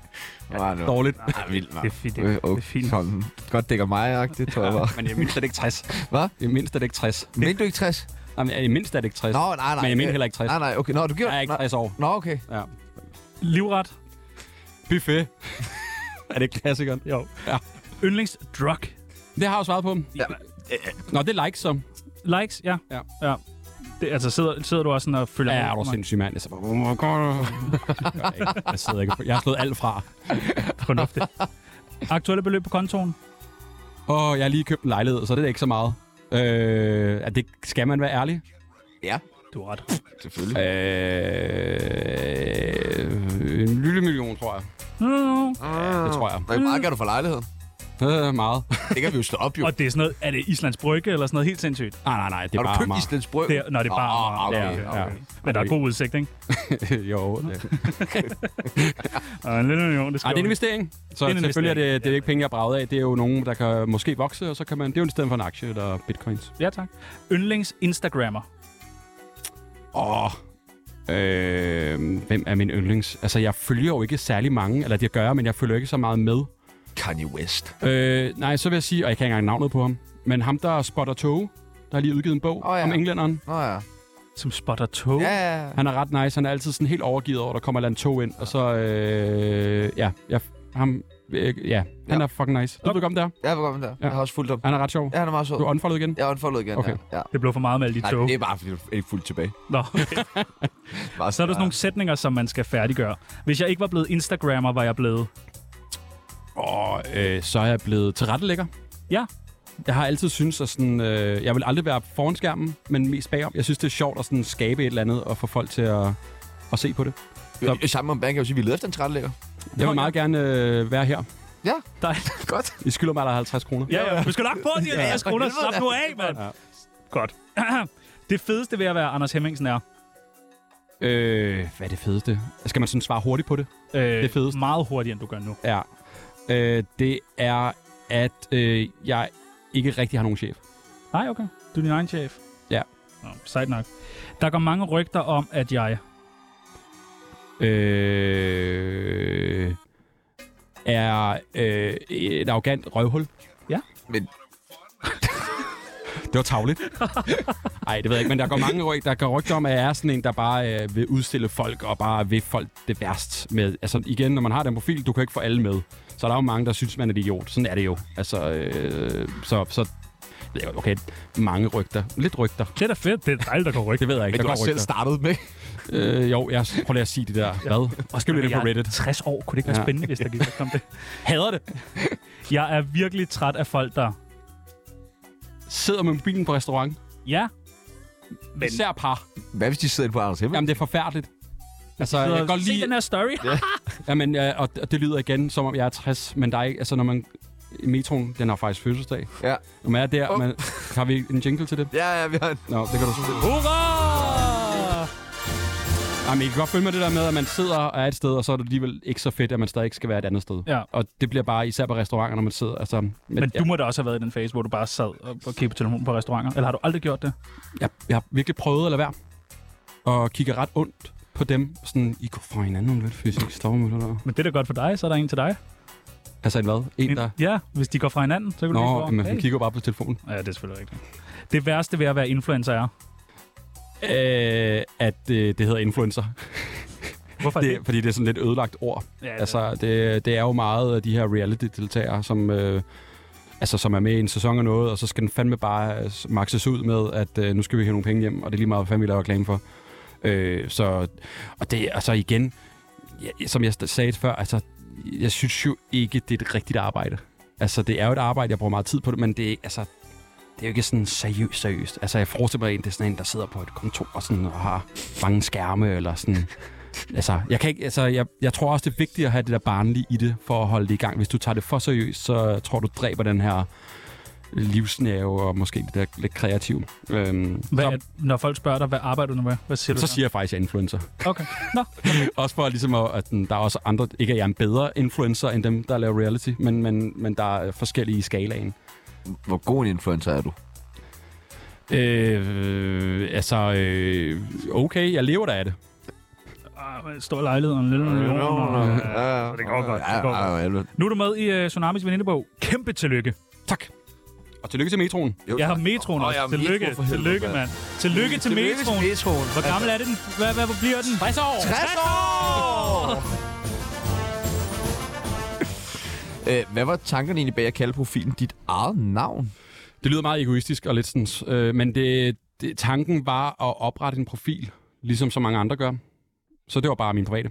Speaker 1: Ja, nu.
Speaker 4: Dårligt.
Speaker 1: Ja, vildt, man.
Speaker 3: Det er fint.
Speaker 4: Øh,
Speaker 3: Det, det er fint.
Speaker 1: Sådan. Godt dækker mig-agtigt, tror jeg bare.
Speaker 4: Men jeg mindst er det ikke 60.
Speaker 1: Hvad?
Speaker 4: Jeg mindst er det ikke 60.
Speaker 1: Mente du ikke 60?
Speaker 4: Nej, men jeg mindst er det ikke 60.
Speaker 1: Nå, nej, nej.
Speaker 4: Men jeg mente heller ikke 60.
Speaker 1: Nej, nej, okay. Nå, du giver...
Speaker 4: Jeg er ikke
Speaker 1: nej.
Speaker 4: 60 år.
Speaker 1: Nå, okay.
Speaker 4: Ja.
Speaker 3: Livret.
Speaker 4: Buffet. er det ikke klassikeren?
Speaker 3: Jo.
Speaker 4: Ja.
Speaker 3: Yndlingsdrug.
Speaker 4: Det har jeg jo svaret på. Ja. øh, Nå, det er like så.
Speaker 3: Likes, ja.
Speaker 4: Ja.
Speaker 3: ja. Det, altså, sidder, sidder du også sådan og følger
Speaker 4: Ja, er du
Speaker 3: med
Speaker 4: sindssyg mand. Altså, Jeg, så, jeg, sidder ikke. jeg har slået alt fra.
Speaker 3: Fornuftigt. Aktuelle beløb på kontoen?
Speaker 4: Åh, jeg har lige købt en lejlighed, så det er ikke så meget. Øh, er det, skal man være ærlig?
Speaker 1: Ja,
Speaker 3: Du har ret.
Speaker 1: selvfølgelig.
Speaker 4: Øh, en lille million, tror jeg.
Speaker 3: Mm.
Speaker 4: Ja, det tror jeg.
Speaker 1: Hvor meget gør du for lejligheden?
Speaker 4: Øh, meget.
Speaker 1: Det kan vi jo slå op, jo.
Speaker 3: Og det er sådan noget, er det Islands Brygge eller sådan noget helt sindssygt?
Speaker 4: Nej, nej, nej, det
Speaker 1: Har
Speaker 4: er
Speaker 1: du
Speaker 4: bare
Speaker 1: købt
Speaker 4: meget.
Speaker 1: Islands Brød?
Speaker 3: Det er, når det er bare...
Speaker 1: Ah, okay,
Speaker 3: Ja,
Speaker 1: okay.
Speaker 3: Men der er god udsigt, ikke?
Speaker 4: jo, det.
Speaker 3: Og en lille union, det skal
Speaker 4: Ej, Ah, det er en
Speaker 3: jo-
Speaker 4: investering. Så
Speaker 3: Det er en
Speaker 4: selvfølgelig er det, det er jo ikke penge, jeg har braget af. Det er jo nogen, der kan måske vokse, og så kan man... Det er jo i stedet for en aktie eller bitcoins.
Speaker 3: Ja, tak. Yndlings Instagrammer.
Speaker 4: Åh, øh, hvem er min yndlings? Altså, jeg følger jo ikke særlig mange, eller det gør jeg, men jeg følger ikke så meget med.
Speaker 1: Kanye West.
Speaker 4: Øh, nej, så vil jeg sige, og jeg kan ikke engang navnet på ham, men ham, der spotter tog, der har lige udgivet en bog
Speaker 1: Åh,
Speaker 4: oh,
Speaker 1: ja.
Speaker 4: ja. om englænderen.
Speaker 1: Nå ja.
Speaker 3: Som spotter tog.
Speaker 1: Ja, ja, ja.
Speaker 4: Han er ret nice. Han er altid sådan helt overgivet over, at der kommer et eller andet tog ind, og så... Øh, ja, jeg, ham, øh, ja, han
Speaker 1: Ja.
Speaker 4: er fucking nice. Du ved godt, om det er.
Speaker 1: Jeg er velkommen der.
Speaker 4: Ja.
Speaker 1: Jeg har også fulgt op.
Speaker 4: Han er ret sjov.
Speaker 1: Ja, han er meget sød.
Speaker 4: Du er unfoldet igen.
Speaker 1: Jeg har unfoldet igen.
Speaker 4: Okay.
Speaker 1: Ja. ja.
Speaker 3: Det blev for meget med alle de
Speaker 1: Nej,
Speaker 3: tog.
Speaker 1: det er bare, fordi du ikke fuldt tilbage.
Speaker 3: Nå, okay.
Speaker 1: Bare
Speaker 3: Så er der sådan
Speaker 1: sådan,
Speaker 3: nogle sætninger, som man skal færdiggøre. Hvis jeg ikke var blevet Instagrammer, var jeg blevet...
Speaker 4: Og øh, så er jeg blevet tilrettelægger.
Speaker 3: Ja.
Speaker 4: Jeg har altid syntes, at sådan, øh, jeg vil aldrig være foran skærmen, men mest bagom. Jeg synes, det er sjovt at sådan, skabe et eller andet og få folk til at, at se på det.
Speaker 1: ja. Øh, Samme om banken kan jo sige, at vi leder efter en trætlægger.
Speaker 4: Jeg vil meget gerne øh, være her.
Speaker 3: Der er...
Speaker 1: Godt.
Speaker 4: I skylder mig der 50 kroner.
Speaker 3: Ja, ja. Du skal nok på de her 50 kroner.
Speaker 1: helvede
Speaker 3: Slap nu af, mand.
Speaker 4: Ja.
Speaker 3: Godt. Det fedeste ved at være Anders Hemmingsen er...
Speaker 4: Øh, hvad er det fedeste? Skal man sådan svare hurtigt på det?
Speaker 3: Øh,
Speaker 4: Det fedeste.
Speaker 3: Meget hurtigere, end du gør nu.
Speaker 4: Ja. Øh, det er, at øh, jeg ikke rigtig har nogen chef.
Speaker 3: Nej, okay. Du er din egen chef.
Speaker 4: Ja.
Speaker 3: Nå, sejt nok. Der går mange rygter om, at jeg...
Speaker 4: Øh, er øh, et arrogant røvhul.
Speaker 1: Men
Speaker 4: Det var tavligt. Nej, det ved jeg ikke, men der går mange ryg, der går rygter om, at jeg er sådan en, der bare øh, vil udstille folk, og bare vil folk det værst med. Altså igen, når man har den profil, du kan ikke få alle med. Så er der jo mange, der synes, man er et idiot. Sådan er det jo. Altså, øh, så, så ved jeg godt, okay, mange rygter. Lidt rygter.
Speaker 3: Det er da fedt. Det er dejligt, der går rygter.
Speaker 4: Det ved jeg
Speaker 1: men
Speaker 4: ikke, der
Speaker 1: du har
Speaker 4: går
Speaker 1: selv
Speaker 4: rygter.
Speaker 1: startet med.
Speaker 4: Øh, jo, jeg prøver lige at sige det der. Hvad? Og skriv lidt
Speaker 3: Jeg
Speaker 4: på
Speaker 3: er
Speaker 4: Reddit.
Speaker 3: 60 år. Kunne det ikke være
Speaker 4: Ja.
Speaker 3: spændende, hvis der gik der kom det?
Speaker 4: Hader det.
Speaker 3: Jeg er virkelig træt af folk, der...
Speaker 4: Sidder med mobilen på restaurant.
Speaker 3: Ja. Men
Speaker 4: Men... Især par.
Speaker 1: Hvad hvis de sidder inde på Anders Himmel?
Speaker 4: Jamen, det er forfærdeligt. Altså, jeg kan godt
Speaker 3: Se
Speaker 4: lide,
Speaker 3: den her story.
Speaker 4: Jamen, ja, og, og det lyder igen, som om jeg er 60, men der er ikke, altså når man, metroen, den har faktisk fødselsdag.
Speaker 1: Ja.
Speaker 4: Når man er der,
Speaker 1: Oh.
Speaker 4: oh. man, har vi en jingle til det?
Speaker 1: Ja, ja, vi har en...
Speaker 4: Nå, det kan du sige.
Speaker 3: Hurra!
Speaker 4: Jamen, I kan godt følge med det der med, at man sidder og er et sted, og så er det alligevel ikke så fedt, at man stadig ikke skal være et andet sted.
Speaker 3: Ja.
Speaker 4: Og det bliver bare især på restauranter, når man sidder. Altså, men
Speaker 3: Men du
Speaker 4: jeg,
Speaker 3: må da også have været i den fase, hvor du bare sad og, og kiggede på telefonen på restauranter. Eller har du aldrig gjort det?
Speaker 4: jeg, jeg, har virkelig prøvet at lade være, og kigger ret ondt på dem. Sådan, I går fra hinanden nogle lidt fysik, stormøller der.
Speaker 3: Men det er da godt for dig, så er der en til dig.
Speaker 4: Altså en hvad? En, der...
Speaker 3: Ja, hvis de går fra hinanden, så kan du lige gå
Speaker 4: Nå,
Speaker 3: over.
Speaker 4: men han
Speaker 3: Hey.
Speaker 4: kigger bare på telefonen.
Speaker 3: Ja, det er selvfølgelig rigtigt. Det værste ved at være influencer er...
Speaker 4: Øh, at øh, det hedder influencer.
Speaker 3: Hvorfor
Speaker 4: det, fordi det er sådan lidt ødelagt ord.
Speaker 3: Ja,
Speaker 4: Altså, det, det er jo meget af de her reality-deltagere, som, øh, altså, som er med i en sæson og noget, og så skal den fandme bare øh, maxes ud med, at øh, nu skal vi have nogle penge hjem, og det er lige meget, hvad fanden vi laver reklame for. Øh, så, og det altså igen, ja, som jeg st- sagde før, altså, jeg synes jo ikke, det er et rigtigt arbejde. Altså, det er jo et arbejde, jeg bruger meget tid på det, men det er, altså, det er jo ikke sådan seriøst, seriøst. Altså, jeg forestiller mig, at det er sådan en, der sidder på et kontor og, sådan, og har mange skærme, eller sådan... Altså, jeg, kan ikke, altså jeg, jeg tror også, det er vigtigt at have det der barnlige i det, for at holde det i gang. Hvis du tager det for seriøst, så tror du dræber den her livsnerve, og måske det der lidt kreative. Øhm,
Speaker 3: Hvad,
Speaker 4: så,
Speaker 3: er- når folk spørger dig, hvad arbejder du med? Hvad siger du
Speaker 4: så siger jeg faktisk, at jeg er influencer.
Speaker 3: Okay. Nå.
Speaker 4: Også for ligesom, at, at den- der er også andre, ikke at jeg er en bedre influencer end dem, der laver reality, men, men, men der er forskellige i skalaen.
Speaker 1: Hvor god en influencer er du?
Speaker 4: Øh, altså, øh, okay, jeg lever da af det.
Speaker 3: Ah, Stor lejlighed og en lille million. og-
Speaker 1: Ja,
Speaker 3: det går godt,
Speaker 1: Ja,
Speaker 3: det går
Speaker 1: ja, ja, ja.
Speaker 3: Nu er du med i uh, Tsunamis venindebog. Kæmpe tillykke.
Speaker 4: Tak. Og tillykke til metroen.
Speaker 1: Jo,
Speaker 3: Jeg har
Speaker 1: tak.
Speaker 3: metroen
Speaker 1: Åh,
Speaker 3: også.
Speaker 1: jeg har
Speaker 3: Tillykke,
Speaker 1: metro for helvede,
Speaker 3: tillykke,
Speaker 1: mand.
Speaker 3: mand. Tillykke til
Speaker 1: Tillykke til
Speaker 3: metroen.
Speaker 1: metroen. Altså-
Speaker 3: Hvor gammel er den? Hvad, hvad, hvor bliver den?
Speaker 4: 60 år!
Speaker 1: 60 år! Øh, Hvad var tankerne egentlig bag at kalde profilen dit eget navn?
Speaker 4: Det lyder meget egoistisk og lidt sådan, øh, men det, det, tanken var at oprette en profil, ligesom så mange andre gør. Så det var bare min private.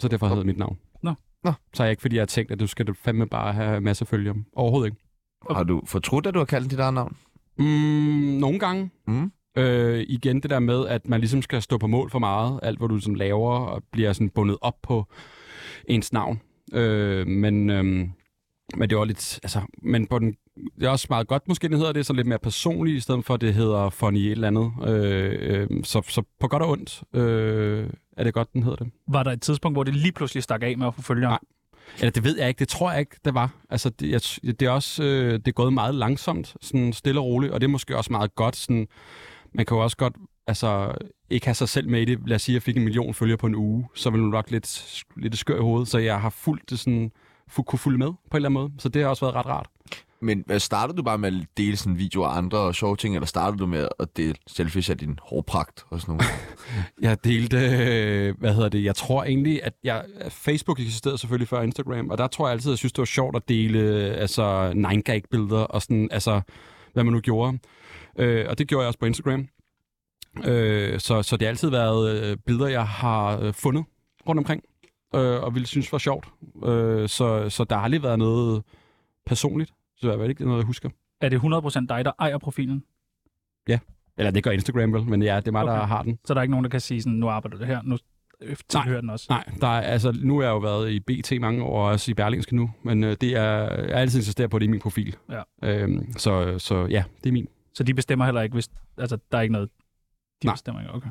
Speaker 4: Så derfor hedder mit navn.
Speaker 3: Nå.
Speaker 1: Nå.
Speaker 4: Så er jeg ikke, fordi jeg har tænkt, at du skal da fandme bare have masser af følgere. Overhovedet ikke.
Speaker 1: Har du fortrudt, at du har kaldt den dit eget navn?
Speaker 4: Mm, nogle gange.
Speaker 1: Mm.
Speaker 4: Øh, igen det der med, at man ligesom skal stå på mål for meget. Alt, hvad du sådan laver, og bliver sådan bundet op på ens navn. Øh, men, øh, Men det var lidt, altså, men på den, det er også meget godt måske, den hedder det, så lidt mere personligt, i stedet for, at det hedder funny et eller andet. Øh, øh, så, så på godt og ondt øh, er det godt, den hedder det.
Speaker 3: Var der et tidspunkt, hvor det lige pludselig stak af med at få følgere?
Speaker 4: Nej. Eller det ved jeg ikke, det tror jeg ikke, det var. Altså, det, jeg, det er også, øh, det er gået meget langsomt, sådan stille og roligt, og det er måske også meget godt, sådan, man kan jo også godt, altså, ikke have sig selv med i det. Lad os sige, at jeg fik en million følgere på en uge, så ville du nok lidt, lidt skør i hovedet, så jeg har fulgt det sådan, fu- kunne fulde med på en eller anden måde, så det har også været ret rart.
Speaker 1: Men hvad, startede du bare med at dele sådan videoer af andre og sjove ting, eller startede du med at dele selfies af din hårpragt og sådan noget?
Speaker 4: Jeg delte, øh, hvad hedder det, jeg tror egentlig, at jeg, at Facebook eksisterede selvfølgelig før Instagram, og der tror jeg altid, at jeg synes, det var sjovt at dele altså 9gag-billeder og sådan, altså, hvad man nu gjorde. Øh, og det gjorde jeg også på Instagram. Øh, så, så det har altid været øh, billeder, jeg har øh, fundet rundt omkring, øh, og ville synes var sjovt. Øh, så, så der har aldrig været noget personligt, så jeg ved ikke, det er noget, jeg husker.
Speaker 3: Er det 100% dig, der ejer profilen?
Speaker 4: Eller det gør Instagram vel, men ja, det er mig, okay. der
Speaker 3: Okay.
Speaker 4: har den.
Speaker 3: Så der er ikke nogen, der kan sige sådan, nu arbejder du her, nu øh, tilhører den også.
Speaker 4: Nej, der er, altså, nu har jeg jo været i BT mange år, og også i Berlingske nu, men øh, det er, jeg har altid insisteret på, at det er min profil.
Speaker 3: Ja.
Speaker 4: Øhm, så, så ja, det er min.
Speaker 3: Så de bestemmer heller ikke, hvis... Altså, der er ikke noget... De
Speaker 4: Nej.
Speaker 3: bestemmer ikke, okay.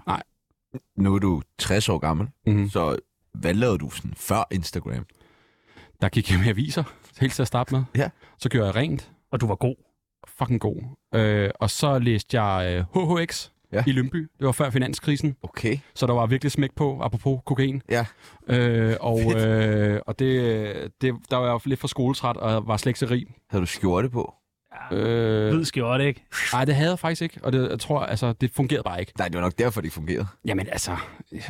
Speaker 1: Nu er du 60 år gammel,
Speaker 4: Mm-hmm.
Speaker 1: så hvad lavede du sådan før Instagram?
Speaker 4: Der gik jeg med aviser, helt til at starte med.
Speaker 1: Ja.
Speaker 4: Så gjorde jeg rent,
Speaker 3: Og du var god.
Speaker 4: fucking god. Øh, og så læste jeg øh, HHX
Speaker 1: Ja.
Speaker 4: ja. i Lønby. Det var før finanskrisen,
Speaker 1: Okay.
Speaker 4: så der var virkelig smæk på, apropos kokain.
Speaker 1: Ja.
Speaker 4: Øh, og øh, og det, det, der var jeg lidt for skoletræt, og var slet ikke så rig.
Speaker 1: Havde du skjorte på?
Speaker 4: Øh,
Speaker 3: Hvid skjorte, ikke?
Speaker 4: Nej, det havde jeg faktisk ikke, og det, jeg tror, altså, det fungerede bare ikke.
Speaker 1: Nej, det var nok derfor, det ikke fungerede.
Speaker 4: Jamen altså,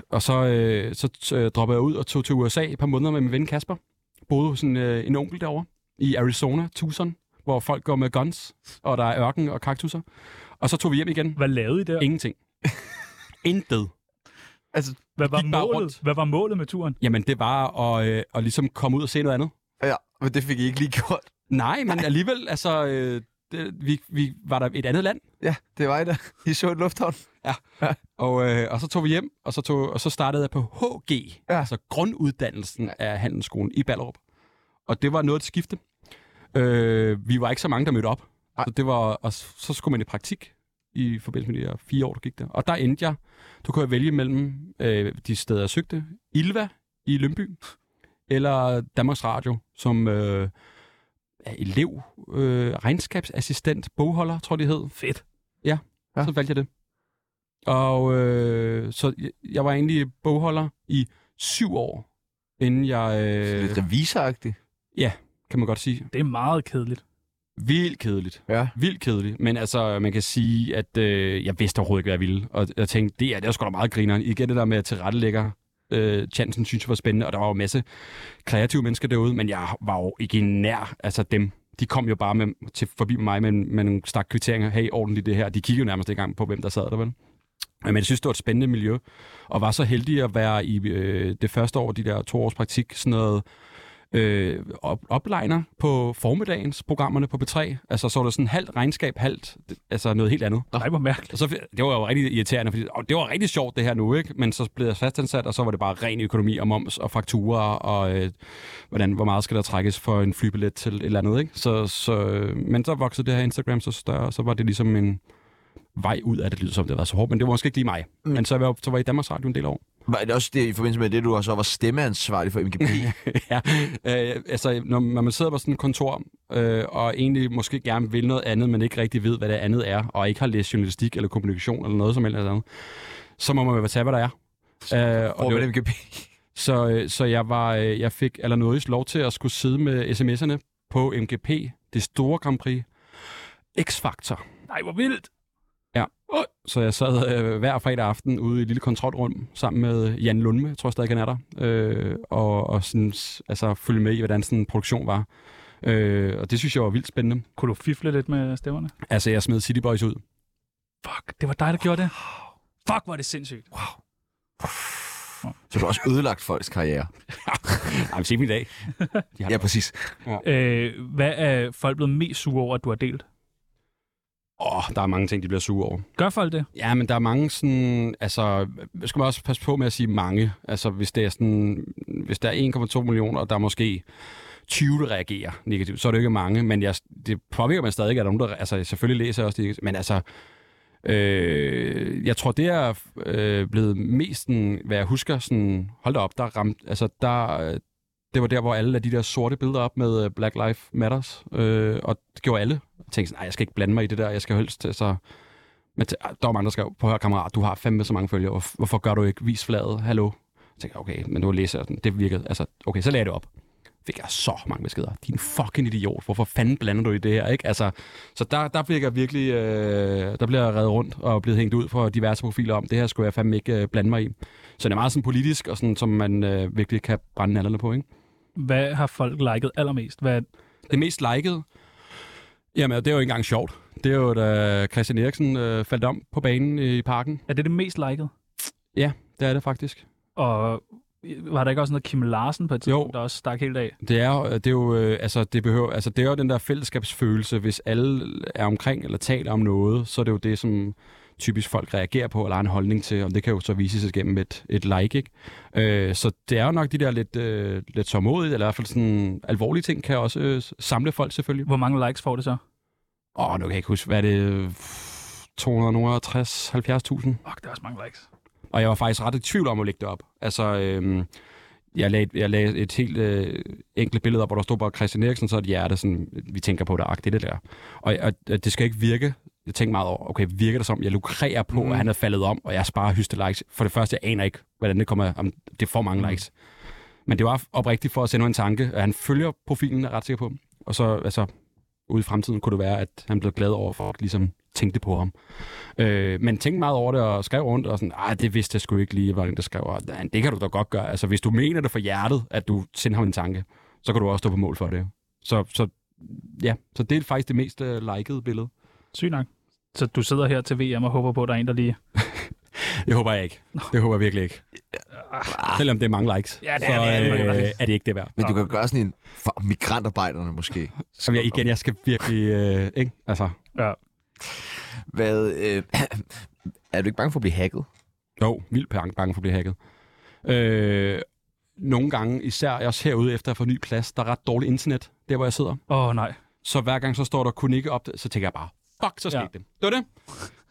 Speaker 4: og så, øh, så t- øh, droppede jeg ud og tog til USA et par måneder med min ven Kasper. Boede hos en, øh, en onkel derovre i Arizona, Tucson, hvor folk går med guns, og der er ørken og kaktusser. Og så tog vi hjem igen.
Speaker 3: Hvad lavede I der?
Speaker 4: Ingenting. Intet.
Speaker 3: Hvad var,
Speaker 4: gik bare
Speaker 3: målet?
Speaker 4: rundt.
Speaker 3: Hvad var målet med turen?
Speaker 4: Jamen, det var at, øh, at ligesom komme ud og se noget andet.
Speaker 1: Ja, men det fik I ikke lige gjort.
Speaker 4: Nej, men alligevel, altså, øh, det, vi, vi var der et andet land.
Speaker 1: Ja, det var I der. I så et lufthavn.
Speaker 4: Og, øh, og så tog vi hjem, og så, tog, og så startede jeg på HG,
Speaker 1: Ja.
Speaker 4: ja. altså grunduddannelsen af Handelsskolen i Ballerup. Og det var noget at skifte. Øh, vi var ikke så mange, der mødte op. Så, det var, og s- så skulle man i praktik i forbindelse med de her fire år, der gik der. Og der endte jeg, du kunne jeg vælge mellem øh, de steder, jeg søgte. Ilva i Lønby, eller Danmarks Radio, som øh, er elev, øh, regnskabsassistent, bogholder, tror jeg, det hed.
Speaker 3: Fedt.
Speaker 1: Ja.
Speaker 4: Ja. Så valgte jeg det. Og øh, så jeg, jeg var egentlig bogholder i syv år, inden jeg...
Speaker 1: Øh.
Speaker 4: Øh,
Speaker 1: Lidt revisoragtigt.
Speaker 4: kan man godt sige.
Speaker 3: Det er meget kedeligt.
Speaker 4: Vildt kedeligt.
Speaker 1: Ja.
Speaker 4: Vildt kedeligt. Men altså, man kan sige, at øh, jeg vidste overhovedet ikke, hvad jeg ville. Og jeg tænkte, det er, det er sgu da meget grineren. Igen det der med at tilrettelægge øh, chancen, synes jeg var spændende. Og der var jo en masse kreative mennesker derude, men jeg var jo ikke nær altså dem. De kom jo bare med, til, forbi mig med, med nogle stak kvitteringer. Hey, ordentligt det her. De kiggede jo nærmest ikke engang på, hvem der sad der, vel? Men jeg synes, det var et spændende miljø, og var så heldig at være i øh, det første år, de der to års praktik, sådan noget øh, op- opliner på formiddagens programmerne på B3. Altså, så var der sådan halvt regnskab, halvt, altså noget helt andet.
Speaker 3: Nej, hvor mærkeligt.
Speaker 4: Og så, det var jo rigtig irriterende, fordi "Åh, det var rigtig sjovt det her nu, ikke? Men så blev jeg fastansat, og så var det bare ren økonomi og moms og fakturer, og øh, hvordan, hvor meget skal der trækkes for en flybillet til et eller andet, ikke? Så, så, men så voksede det her Instagram så større, og så var det ligesom en vej ud af det, lyder som det var så hårdt, men det var måske ikke lige mig. Mm. Men så var, jeg- så var jeg i Danmarks Radio en del år.
Speaker 1: Var det også det, i forbindelse med det, du så var stemmeansvarlig for MGP?
Speaker 4: ja, øh, altså, når, når man sidder på sådan et kontor, øh, og egentlig måske gerne vil noget andet, men ikke rigtig ved, hvad det andet er, og ikke har læst journalistik eller kommunikation eller noget som helst andet, så må man jo tage, hvad der er. Øh,
Speaker 1: Hvor
Speaker 4: og det
Speaker 1: med
Speaker 4: var,
Speaker 1: MGP?
Speaker 4: så, øh, så jeg, var, øh, jeg fik allernådigst lov til at skulle sidde med sms'erne på MGP, det store Grand Prix, X-Factor.
Speaker 3: Nej, hvor vildt.
Speaker 4: Så jeg sad øh, hver fredag aften ude i et lille kontrolrum sammen med Jan Lundme, jeg tror stadig han er der, øh, og, og sådan, s- altså, følge med i, hvordan sådan en produktion var. Øh, og det synes jeg var vildt spændende.
Speaker 3: Kunne du fifle lidt med stemmerne?
Speaker 4: Altså, jeg smed City Boys ud.
Speaker 3: Fuck, det var dig, der gjorde det. Fuck, hvor er det sindssygt.
Speaker 1: Så du har også ødelagt folks karriere.
Speaker 4: Ej, men se min dag.
Speaker 1: Ja, præcis.
Speaker 3: Øh, hvad er folk blevet mest sure over, at du har delt?
Speaker 4: Åh, der er mange ting, de bliver sure over.
Speaker 3: Gør folk det?
Speaker 4: Ja, men der er mange sådan, altså, skal man også passe på med at sige mange. Altså, hvis det er sådan, hvis der er 1,2 millioner, og der er måske 20, der reagerer negativt. Så er det jo ikke mange, men jeg, det påvirker mig stadig, at der er nogen, der... Altså, selvfølgelig læser jeg også det, men altså... Øh, jeg tror, det er øh, blevet mest, sådan, hvad jeg husker, sådan, hold da op, der ramte, altså der, øh, det var der, hvor alle de der sorte billeder op med øh, Black Lives Matters, øh, og det gjorde alle. Jeg tænkte sådan, nej, jeg skal ikke blande mig i det der, jeg skal helst, så... Men t- der var mange, der skrev, på her kammerat, du har fandme så mange følgere, Hvor- hvorfor gør du ikke vis flaget, hallo? Jeg tænkte, okay, men nu læser jeg den, det virkede, altså, okay, så lagde jeg det op. Fik jeg så mange beskeder. Din fucking idiot, hvorfor fanden blander du i det her, ikke? Altså, så der, der bliver jeg virkelig, øh, der bliver jeg reddet rundt og blevet hængt ud for diverse profiler om, det her skulle jeg fandme ikke øh, blande mig i. Så det er meget sådan politisk, og sådan, som man øh, virkelig kan brænde nallerne på, ikke?
Speaker 3: Hvad har folk liket allermest? Hvad,
Speaker 4: Det mest likede? Jamen, det er jo ikke engang sjovt. Det er jo, da Christian Eriksen øh, faldt om på banen i parken.
Speaker 3: er det det mest liket?
Speaker 4: Ja, det er det faktisk.
Speaker 3: Og var der ikke også noget Kim Larsen på et tidspunkt, der også stak helt af?
Speaker 4: Det er, jo- det er jo, øh, altså, det behøver, altså, det er jo den der fællesskabsfølelse, hvis alle er omkring eller taler om noget, så er det jo det, som typisk folk reagerer på eller har en holdning til, og det kan jo så vise sig gennem et, et like, ikke? Øh, så det er jo nok de der lidt, øh, lidt tålmodige, eller i hvert fald sådan alvorlige ting, kan også øh, samle folk selvfølgelig.
Speaker 3: Hvor mange likes får det så?
Speaker 4: Åh, nu kan jeg ikke huske, hvad er det? 260, 70.000?
Speaker 3: Fuck, det er også mange likes.
Speaker 4: Og jeg var faktisk ret i tvivl om at lægge det op. Altså, øhm, jeg, lagde, jeg lagde et helt øh, enkelt billede op, hvor der stod bare Christian Eriksen, så et hjerte, sådan, vi tænker på det, agtigt det der. Og, og, og det skal ikke virke, jeg tænkte meget over, okay, virker det som, jeg lukrerer på, mm. at han er faldet om, og jeg sparer hyste likes. For det første, jeg aner ikke, hvordan det kommer, om det får mange likes. Men det var oprigtigt for at sende mig en tanke, at han følger profilen, er jeg ret sikker på. Og så, altså, ude i fremtiden kunne det være, at han blev glad over, at folk ligesom tænkte på ham. Øh, men tænkte meget over det og skrev rundt, og sådan, ah, det vidste jeg sgu ikke lige, var det, der skrev, og "Nej, det kan du da godt gøre. Altså, hvis du mener det for hjertet, at du sender ham en tanke, så kan du også stå på mål for det. Så, så ja, så det er faktisk det mest øh, likede billede.
Speaker 3: Sygt nok. Så du sidder her til VM og håber på, at der er en, der lige...
Speaker 4: Det håber jeg ikke. Det håber jeg virkelig ikke. Selvom Ah. det er mange likes,
Speaker 3: Ja, det
Speaker 4: så
Speaker 3: er det, det er mange
Speaker 4: øh,
Speaker 3: likes.
Speaker 4: er det ikke det værd.
Speaker 1: Men du kan gøre sådan en for migrantarbejderne måske.
Speaker 4: Så jeg, igen, jeg skal virkelig, øh, ikke? Altså,
Speaker 3: Ja.
Speaker 1: Hvad, øh, er du ikke bange for at blive hacket?
Speaker 4: Jo, vildt bange, bange for at blive hacket. Øh, nogle gange, især også herude efter at få ny plads, der er ret dårligt internet, der hvor jeg sidder.
Speaker 3: Åh, oh, nej.
Speaker 4: Så hver gang så står der kun ikke op, så tænker jeg bare, fuck, så skete
Speaker 3: Ja.
Speaker 4: ja. det. Det var det.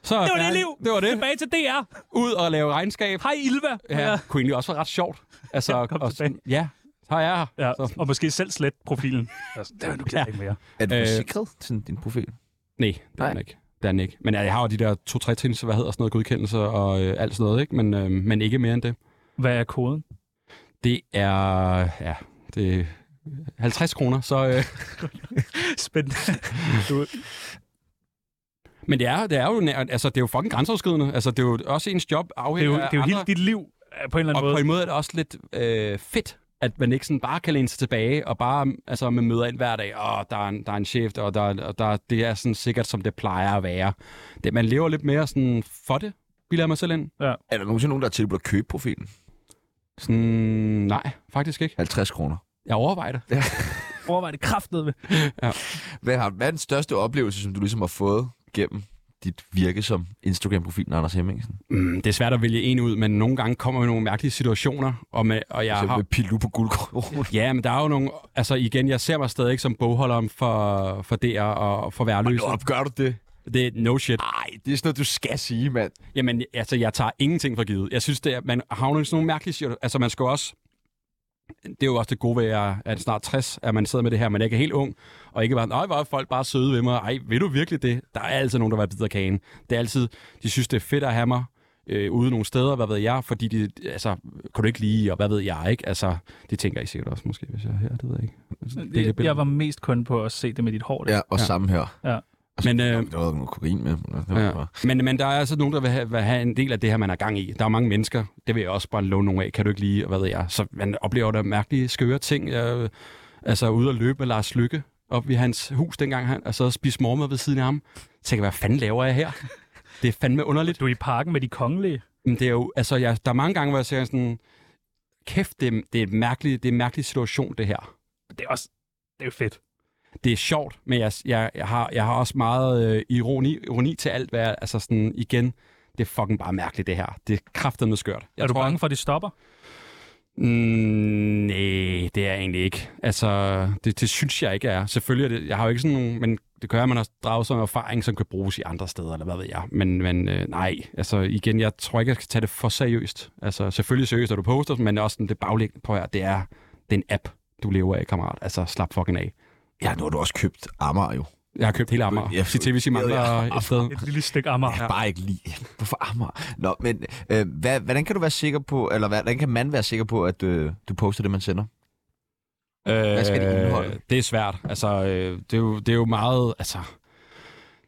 Speaker 4: Så det Det var det.
Speaker 3: Tilbage til DR.
Speaker 4: Ud og lave regnskab.
Speaker 3: Hej, Ilva.
Speaker 4: Ja, ja. kunne egentlig også være ret sjovt. Altså,
Speaker 3: Ja, kom
Speaker 4: og,
Speaker 3: tilbage.
Speaker 4: ja, så er jeg her.
Speaker 3: ja.
Speaker 4: Så,
Speaker 3: Og måske selv slet profilen. Altså, Det er nu kan jeg
Speaker 4: Ja.
Speaker 3: ikke mere.
Speaker 1: Er du
Speaker 4: Øh.
Speaker 1: øh, sikret til din profil?
Speaker 4: nej, det er
Speaker 1: Nej.
Speaker 4: den ikke. Det er den ikke. Men ja, jeg har jo de der to-tre tins, hvad hedder sådan noget, godkendelser og øh, alt sådan noget, ikke? Men, øh, men ikke mere end det.
Speaker 3: Hvad er koden?
Speaker 4: Det er, ja, det er 50 kroner, så... Øh,
Speaker 3: Spændende.
Speaker 4: Men det er, det er jo, nær- altså, det er jo fucking grænseoverskridende. Altså, det er jo også ens job
Speaker 3: Det er
Speaker 4: afhænger
Speaker 3: jo,
Speaker 4: af
Speaker 3: det er jo
Speaker 4: andre.
Speaker 3: hele dit liv øh, på en eller
Speaker 4: og
Speaker 3: anden
Speaker 4: på
Speaker 3: måde.
Speaker 4: en måde er det også lidt øh, fedt, at man ikke sådan bare kan læne sig tilbage, og bare altså, man møder ind hver dag, og der er en, der er en chef, og, der, og der, det er sådan sikkert, som det plejer at være. Det, man lever lidt mere sådan for det, bilder jeg mig selv ind.
Speaker 1: Er der nogensinde nogen, der har tilbudt at købe profilen?
Speaker 4: Sådan, nej, faktisk ikke.
Speaker 1: 50 kroner.
Speaker 4: Jeg overvejer det.
Speaker 3: Overvej det kraftedeme.
Speaker 1: Hvad, har, hvad er den største oplevelse, som du ligesom har fået gennem dit virke som Instagram-profilen Anders Hemmingsen?
Speaker 4: Mm, det er svært at vælge en ud, men nogle gange kommer vi i nogle mærkelige situationer, og, med, og jeg
Speaker 1: Så
Speaker 4: har...
Speaker 1: med pilu på guldkronen.
Speaker 4: Ja, men der er jo nogle... Altså igen, jeg ser mig stadig ikke som bogholderen for, for DR og for værløse.
Speaker 1: Nå, Gør du det?
Speaker 4: Det er no shit.
Speaker 1: Nej, det er sådan noget, du skal sige, mand.
Speaker 4: Jamen, altså, jeg tager ingenting for givet. Jeg synes, det er, man havner i sådan nogle mærkelige situationer. Altså, man skal jo også... Det er jo også det gode ved, at jeg er snart 60, at man sidder med det her, man ikke er helt ung, og ikke bare, nej, hvor er folk bare søde ved mig. Ej, vil du virkelig det? Der er altid nogen, der vil have bidder af kagen. Det er altid, de synes, det er fedt at have mig øh, ude nogle steder, hvad ved jeg, fordi de, altså, kan du ikke lide, og hvad ved jeg, ikke? Altså, det tænker I sikkert også måske, hvis jeg er her, det ved jeg ikke. Det er lidt
Speaker 3: Jeg, jeg var mest kun på at se det med dit hår. Der.
Speaker 1: Ja, og ja. sammenhør.
Speaker 4: Men, øh,
Speaker 1: Der var noget kokain med. Det var
Speaker 4: Ja.
Speaker 1: bare-
Speaker 4: Men, men der er altså nogen, der vil have, vil have en del af det her, man er gang i. Der er mange mennesker, det vil jeg også bare låne nogle af, kan du ikke lide, og hvad ved jeg. Så man oplever der mærkelige, skøre ting. Jeg, altså ude at løbe med Lars Lykke op i hans hus dengang, han, og så spise morgenmad ved siden af ham. Tænker, hvad fanden laver jeg her? Det er fandme underligt.
Speaker 3: Du er i parken med de kongelige.
Speaker 4: Men det er jo, altså, jeg, der er mange gange, hvor jeg ser sådan, kæft, det, er- det, er et mærkeligt, det er en mærkelig situation, det her
Speaker 3: Det er også det er jo fedt.
Speaker 4: det er sjovt, men jeg, jeg, jeg, har, jeg har også meget øh, ironi, ironi til alt, hvad jeg, altså sådan igen, det er fucking bare mærkeligt det her. Det er kraftedeme skørt. Jeg
Speaker 3: er du
Speaker 4: tror,
Speaker 3: bange for, at det stopper?
Speaker 4: Mm, nej, det er jeg egentlig ikke. Altså, det, det synes jeg ikke jeg er. Selvfølgelig er det, jeg har jo ikke sådan nogen, men det gør, at man har draget sådan en erfaring, som kan bruges i andre steder, eller hvad ved jeg. Men, men øh, nej, altså igen, jeg tror ikke, jeg skal tage det for seriøst. Altså, selvfølgelig seriøst, når du poster, men også sådan det bagliggende på her, det er, det er en app, du lever af, kammerat. Altså, slap fucking af.
Speaker 1: Ja, nu har du også købt Amager jo.
Speaker 4: Jeg har købt hele Amager.
Speaker 1: Ja,
Speaker 4: Jeg til, hvis I mangler
Speaker 1: ja, ja.
Speaker 4: et sted.
Speaker 3: Et lille stykke Amager.
Speaker 1: Ja. Bare ikke lige. Hvorfor Amager? Nå, men øh, hvad, hvordan kan du være sikker på, eller hvad, hvordan kan man være sikker på, at øh, du poster det, man sender?
Speaker 4: Hvad
Speaker 1: skal det indeholde?
Speaker 4: Øh, Det er svært. Altså, øh, det, er jo, det er jo meget... Altså,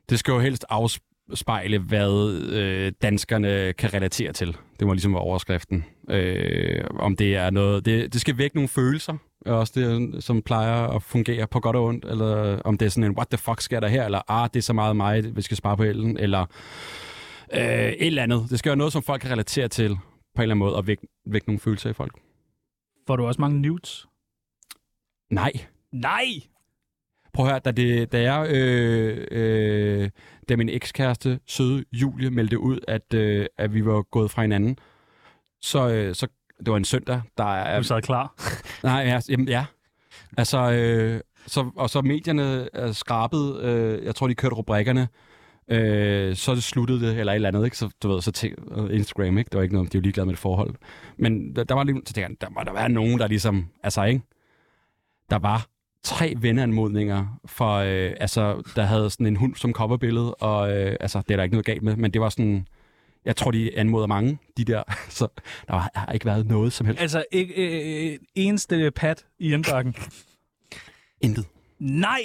Speaker 4: det skal jo helst afspejle, hvad øh, danskerne kan relatere til. Det må ligesom være overskriften. Øh, om det er noget... Det, det skal vække nogle følelser. er Også det, som plejer at fungere på godt og ondt. Eller om det er sådan en, what the fuck sker der her? Eller, ah, det er så meget mig, vi skal spare på elen. Eller øh, et eller andet. Det skal være noget, som folk kan relatere til på en eller anden måde, og vække, vække nogle følelser i folk.
Speaker 3: Får du også mange nudes?
Speaker 4: Nej,
Speaker 3: Nej!
Speaker 4: Prøv at høre, da, det, da jeg, øh, øh, da min ekskæreste, søde Julie, meldte ud, at, øh, at vi var gået fra hinanden, så, øh, så det var en søndag, der er...
Speaker 3: Du sad klar.
Speaker 4: Nej, ja, jamen, ja. Altså, øh, så, og så medierne er skrabet, øh, jeg tror, de kørte rubrikkerne, øh, så det sluttede det, eller et eller andet, ikke? Så, du ved, så tæ- øh, Instagram, ikke? Det var ikke noget, de var ligeglade med det forhold. Men der, der var lige, så tænkte jeg, der må der være nogen, der ligesom, altså, ikke? Der var tre venneanmodninger for, øh, altså, der havde sådan en hund som coverbillede, og øh, altså, det er der ikke noget galt med, men det var sådan, jeg tror, de anmoder mange, de der, så der har- har ikke været noget som helst.
Speaker 3: Altså, ikke øh, øh, eneste pat i indbakken.
Speaker 4: Intet.
Speaker 3: Nej!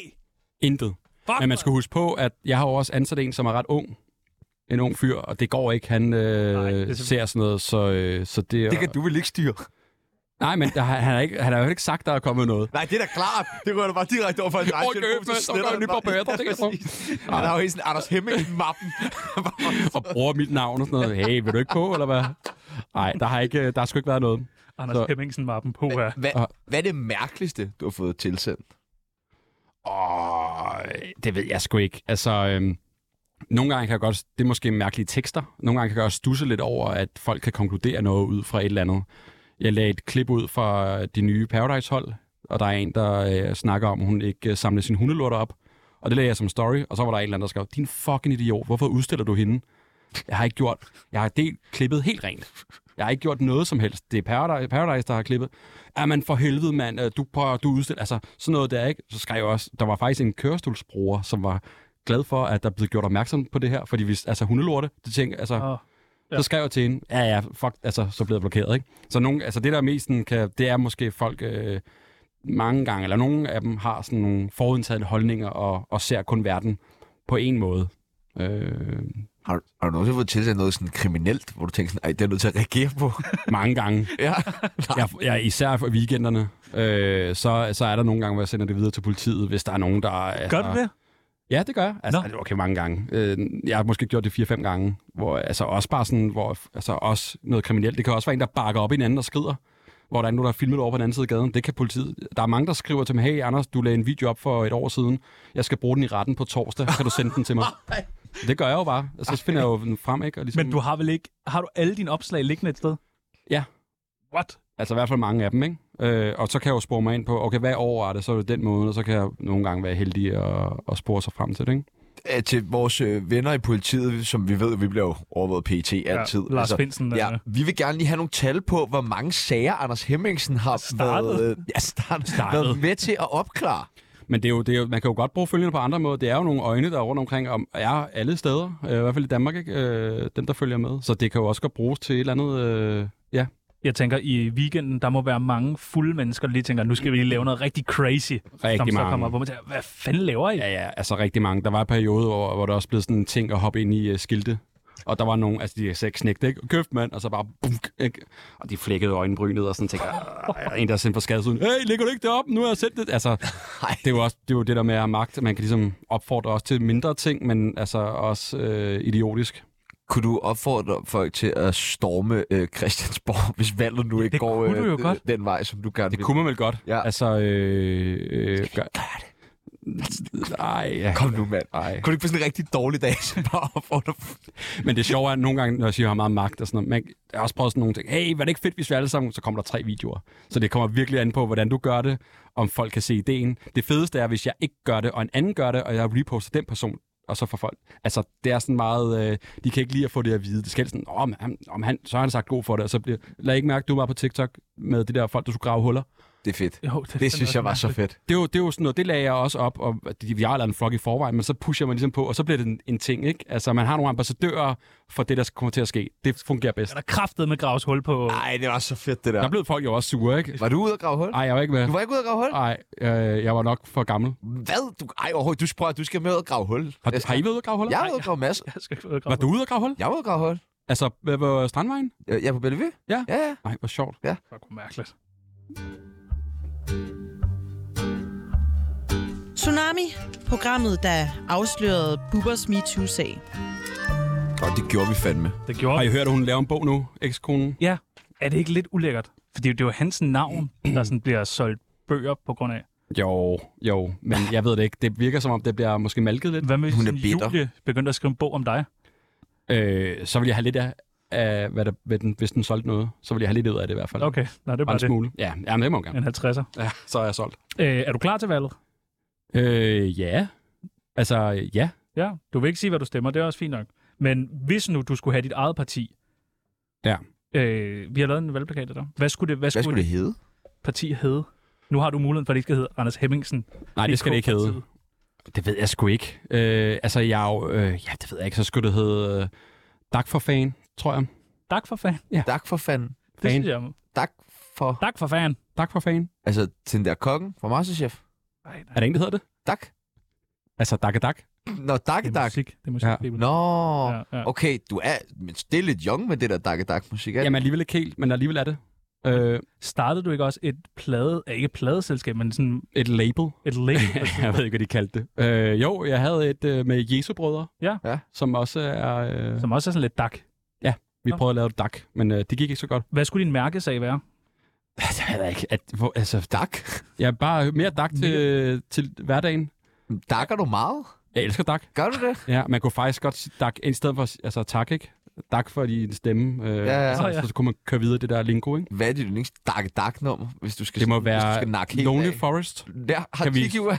Speaker 4: Intet.
Speaker 3: Fuck,
Speaker 4: Men man skal huske på, at jeg har jo også ansat en, som er ret ung. En ung fyr, og det går ikke. Han
Speaker 3: Nej,
Speaker 4: øh, Nej,
Speaker 3: det er
Speaker 4: det
Speaker 3: simpelthen-
Speaker 4: ser sådan noget, så, øh, så det...
Speaker 1: du vel ikke styre?
Speaker 4: Nej, men der, han, har ikke, han har jo ikke sagt, der er kommet noget.
Speaker 1: Nej, det er da klart. Det rører du bare direkte over for en
Speaker 4: Åh, køb med, så går jeg ny på bedre, det kan jeg
Speaker 1: Han har jo helt sådan Anders Hemming i mappen.
Speaker 4: Og bruger mit navn og sådan noget. Hey, vil du ikke på, eller hvad? Nej, der har, ikke, der har sgu ikke været noget.
Speaker 3: Anders
Speaker 4: Så-
Speaker 3: Hemmingsen-mappen på her.
Speaker 1: Hvad,
Speaker 4: Og-
Speaker 1: hvad er det mærkeligste, du har fået tilsendt?
Speaker 4: Åh, det ved jeg sgu ikke. Altså, øhm, nogle gange kan jeg godt, det er måske mærkelige tekster, nogle gange kan jeg godt stusse lidt over, at folk kan konkludere noget ud fra et eller andet. Jeg lagde et klip ud fra de nye Paradise-hold, og der er en, der øh, snakker om, at hun ikke øh, samlede sin hundelorter op. Og det lagde jeg som story, og så var der en eller anden, der skrev, din fucking idiot, hvorfor udstiller du hende? Jeg har ikke gjort, jeg har delt klippet helt rent. Jeg har ikke gjort noget som helst. Det er Paradise, Paradise der har klippet. Er man for helvede, mand, øh, du prøver, du udstiller, altså sådan noget der, ikke? Så skrev jeg også, der var faktisk en kørestolsbruger, som var glad for, at der blev gjort opmærksom på det her, fordi hvis, altså hundelorte, det tænker, altså,
Speaker 3: Åh, ja.
Speaker 4: ja. så skrev jeg til hende, ja, ja, fuck, altså, så blev jeg blokeret, ikke? Så nogen, altså det der mest sådan kan, det er måske folk øh, mange gange, eller nogen af dem har sådan nogle forudindtagende holdninger og, og ser kun verden på en måde. Øh,
Speaker 1: Har, har du nogensinde fået tilsendt noget sådan kriminelt, hvor du tænker sådan, ej, det er jeg nødt til at reagere på?
Speaker 4: mange gange.
Speaker 1: ja.
Speaker 4: jeg, jeg, især for weekenderne, øh, så, så er der nogle gange, hvor jeg sender det videre til politiet, hvis der er nogen, der... Altså,
Speaker 3: Gør du det?
Speaker 4: Ja, det gør jeg. Altså,
Speaker 3: Nå.
Speaker 4: okay, mange gange. Øh, jeg har måske gjort det 4-5 gange, hvor altså også bare sådan, hvor altså også noget kriminelt. Det kan også være en, der bakker op i en anden og skrider, hvor der er nogen, der har filmet over på den anden side af gaden. Det kan politiet. Der er mange, der skriver til mig, hey Anders, du lagde en video op for et år siden. Jeg skal bruge den i retten på torsdag. Kan du sende den til mig? det gør jeg jo bare. Altså, så finder jeg jo den frem, ikke? Og ligesom,
Speaker 3: Men du har vel ikke... Har du alle dine opslag liggende et sted?
Speaker 4: Ja.
Speaker 3: What?
Speaker 4: Altså i hvert fald mange af dem, ikke? Øh, og så kan jeg jo spore mig ind på, okay, hvad år er det? Så er det den måned, og så kan jeg nogle gange være heldig at, at spore sig frem til det, ikke?
Speaker 1: Øh, Til vores øh, venner i politiet, som vi ved, vi bliver jo overvåget PT altid. Altså,
Speaker 3: Lars Findsen,
Speaker 1: ja,
Speaker 3: øh.
Speaker 1: vi vil gerne lige have nogle tal på, hvor mange sager Anders Hemmingsen har
Speaker 3: Startet.
Speaker 1: været, øh, ja, start,
Speaker 3: Startet.
Speaker 1: været med til at opklare.
Speaker 4: Men det er jo, det er jo, man kan jo godt bruge følgende på andre måder. Det er jo nogle øjne, der er rundt omkring, om er alle steder, øh, i hvert fald i Danmark, ikke? Øh, dem der følger med. Så det kan jo også godt bruges til et eller andet... Øh, ja,
Speaker 3: Jeg tænker, i weekenden, der må være mange fulde mennesker, der lige tænker, nu skal vi lige lave noget rigtig crazy. som
Speaker 4: rigtig
Speaker 3: så kommer
Speaker 4: mange.
Speaker 3: op, hvor man tænker, hvad fanden laver I?
Speaker 4: Ja, ja, altså rigtig mange. Der var en periode, hvor, hvor der også blev sådan en ting at hoppe ind i uh, skilte. Og der var nogen, altså de her seks knægte, ikke? Køft, mand, og så bare bunk, ikke? Og de flækkede øjenbrynet og sådan tænkte, "Ah," en der er sendt for skadesuden, hey, ligger du ikke det op? Nu har jeg sendt det. Altså, det er jo også det, er jo det der med at have magt. Man kan ligesom opfordre også til mindre ting, men altså også øh, idiotisk.
Speaker 1: Kunne du opfordre folk til at storme øh, Christiansborg, hvis valget nu ikke
Speaker 3: det
Speaker 1: går øh,
Speaker 3: kunne du jo
Speaker 1: d-
Speaker 3: godt.
Speaker 1: den vej, som du gerne
Speaker 4: Det
Speaker 1: vil?
Speaker 4: kunne man vel godt.
Speaker 1: Ja.
Speaker 4: Altså, øh, øh, gør, Ej, ja.
Speaker 1: Kom nu, mand.
Speaker 4: Ej.
Speaker 1: Kunne det ikke få sådan en rigtig dårlig dag, så bare for dig?
Speaker 4: Men det sjove er, at nogle gange, når jeg siger, at jeg har meget magt og sådan noget, man, jeg har også prøvet sådan nogle ting. Hey, var det ikke fedt, hvis vi alle sammen... Så kommer der tre videoer. Så det kommer virkelig an på, hvordan du gør det, om folk kan se ideen. Det fedeste er, hvis jeg ikke gør det, og en anden gør det, og jeg reposter den person, og så får folk... Altså, det er sådan meget... Øh, de kan ikke lide at få det at vide. Det skal helst sådan, "Åh, men han, om han, så har han sagt god for det, og så bliver... Lad ikke mærke, at du var på TikTok med det der folk, der skulle grave huller.
Speaker 1: Det er fedt.
Speaker 3: Jo, det, er
Speaker 1: Det
Speaker 3: fandme
Speaker 1: synes jeg var
Speaker 3: også
Speaker 1: så fedt.
Speaker 4: det er, jo, det er jo sådan noget, det lagde jeg også op, og de- jeg har lavet en flok i forvejen, men så pusher man ligesom på, og så bliver det en, en ting, ikke? Altså, man har nogle ambassadører for det, der kommer til at ske. Det fungerer bedst.
Speaker 3: mærkeligt. Er der kraftet med graves hul på?
Speaker 1: Nej, det var så fedt, det
Speaker 4: Der
Speaker 1: der.
Speaker 4: blev folk jo også sure, ikke?
Speaker 1: Var du ude at grave hul?
Speaker 4: Nej, jeg var ikke med.
Speaker 1: Du var ikke ude at grave hul?
Speaker 4: Nej, øh, jeg var nok for gammel.
Speaker 1: Hvad? Du, ej, overhovedet, du spørger, du skal med ud og grave hul.
Speaker 4: Har,
Speaker 1: Jeg skal-
Speaker 4: har I været ude at grave huller?
Speaker 1: Jeg var ude at grave masse.
Speaker 3: Jeg skal ikke ud og grave
Speaker 4: Var du ude at grave huller?
Speaker 1: Jeg var ude at grave hul.
Speaker 4: Altså, hvad var Strandvejen?
Speaker 1: Jeg er på Bellevue?
Speaker 4: Ja.
Speaker 1: Ja, ja.
Speaker 4: Nej, hvor sjovt.
Speaker 3: hul? Fuck, hvor mærkeligt.
Speaker 6: Tsunami, programmet, der afslørede Bubbers MeToo-sag.
Speaker 1: Og det gjorde vi fandme.
Speaker 3: Det gjorde
Speaker 4: Har I hørt, at hun laver en bog nu, ekskonen?
Speaker 3: Ja, er det ikke lidt ulækkert? Fordi det er jo hans navn, der sådan bliver solgt bøger på grund af.
Speaker 4: Jo, jo, men jeg ved det ikke. Det virker som om, det bliver måske malket lidt.
Speaker 3: Hvad med,
Speaker 1: Hun
Speaker 3: hvis
Speaker 1: er
Speaker 3: sådan
Speaker 1: bitter.
Speaker 3: Julie begyndte at skrive en bog om dig?
Speaker 4: Øh, så vil jeg have lidt af, af hvad der, hvad den, hvis den solgte noget, så vil jeg have lidt ud af det i hvert fald.
Speaker 3: Okay, nej, det er
Speaker 4: Bare
Speaker 3: bare
Speaker 4: en
Speaker 3: det.
Speaker 4: smule. Ja, ja men det må man gerne.
Speaker 3: En 50'er.
Speaker 4: Ja, så er jeg solgt.
Speaker 3: Øh, er du klar til valget?
Speaker 4: Øh, ja. Altså, ja.
Speaker 3: Ja, du vil ikke sige, hvad du stemmer, det er også fint nok. Men hvis nu du skulle have dit eget parti,
Speaker 4: Ja.
Speaker 3: Øh, vi har lavet en valgplakat af dig. Hvad skulle det, hvad
Speaker 1: Hvad skulle det hedde?
Speaker 3: parti hedde? Nu har du muligheden for, at det ikke skal hedde Anders Hemmingsen.
Speaker 4: Nej, det skal det ikke hedde. Det ved jeg sgu ikke. Øh, altså, jeg er jo... Øh, ja, det ved jeg ikke. Så skulle det hedde... Øh, Dak for fan, tror jeg.
Speaker 3: Tak for fan.
Speaker 1: Dak for fanden.
Speaker 3: Det
Speaker 4: Fan.
Speaker 3: synes jeg.
Speaker 1: Dak for...
Speaker 3: Tak for fan.
Speaker 4: Dak for fan.
Speaker 1: Altså, til den der kokken fra Masterchef.
Speaker 3: Nej, nej.
Speaker 4: Er det ikke, det hedder det?
Speaker 1: Dak.
Speaker 4: Altså, dak er dak.
Speaker 1: Nå, dak,
Speaker 3: Det er
Speaker 1: dak.
Speaker 3: musik. Det er musik.
Speaker 4: Ja.
Speaker 3: people.
Speaker 1: Nå,
Speaker 3: Ja, ja.
Speaker 1: okay, du er, men det er lidt young med det der dak dak musik, er det?
Speaker 4: Jamen, alligevel ikke helt, men alligevel er det. Øh,
Speaker 3: Startede du ikke også et plade, eh, ikke et pladeselskab, men sådan
Speaker 4: et label.
Speaker 3: et label?
Speaker 4: jeg ved ikke, hvad de kaldte det. Øh, jo, jeg havde et øh, med Jesu brødre.
Speaker 3: Ja.
Speaker 1: Ja.
Speaker 4: Som også er... Øh,
Speaker 3: altså, som også er sådan lidt dak.
Speaker 4: vi prøvede at lave et dak, men øh, det gik ikke så godt.
Speaker 3: Hvad skulle din mærkesag være?
Speaker 4: Det ved jeg ikke. At, hvor, altså,
Speaker 1: Dak?
Speaker 4: jeg er bare mere dak til, til hverdagen.
Speaker 1: Dakker du meget?
Speaker 4: Jeg elsker dak.
Speaker 1: Gør du det?
Speaker 4: Ja, man kunne faktisk godt sige tak, i stedet for altså, tak, ikke? Tak for din stemme. Øh,
Speaker 1: ja.
Speaker 4: Altså,
Speaker 3: Nå, ja.
Speaker 4: Så, så kunne man køre videre i det der lingo, ikke?
Speaker 1: Hvad er dit yndlings dak dak nummer hvis du skal,
Speaker 4: Det må
Speaker 1: hvis du
Speaker 4: være
Speaker 1: skal nakke helt
Speaker 4: Lonely
Speaker 1: af?
Speaker 4: Forest.
Speaker 1: Ja,
Speaker 4: Kan vi-
Speaker 1: Hachikiwa.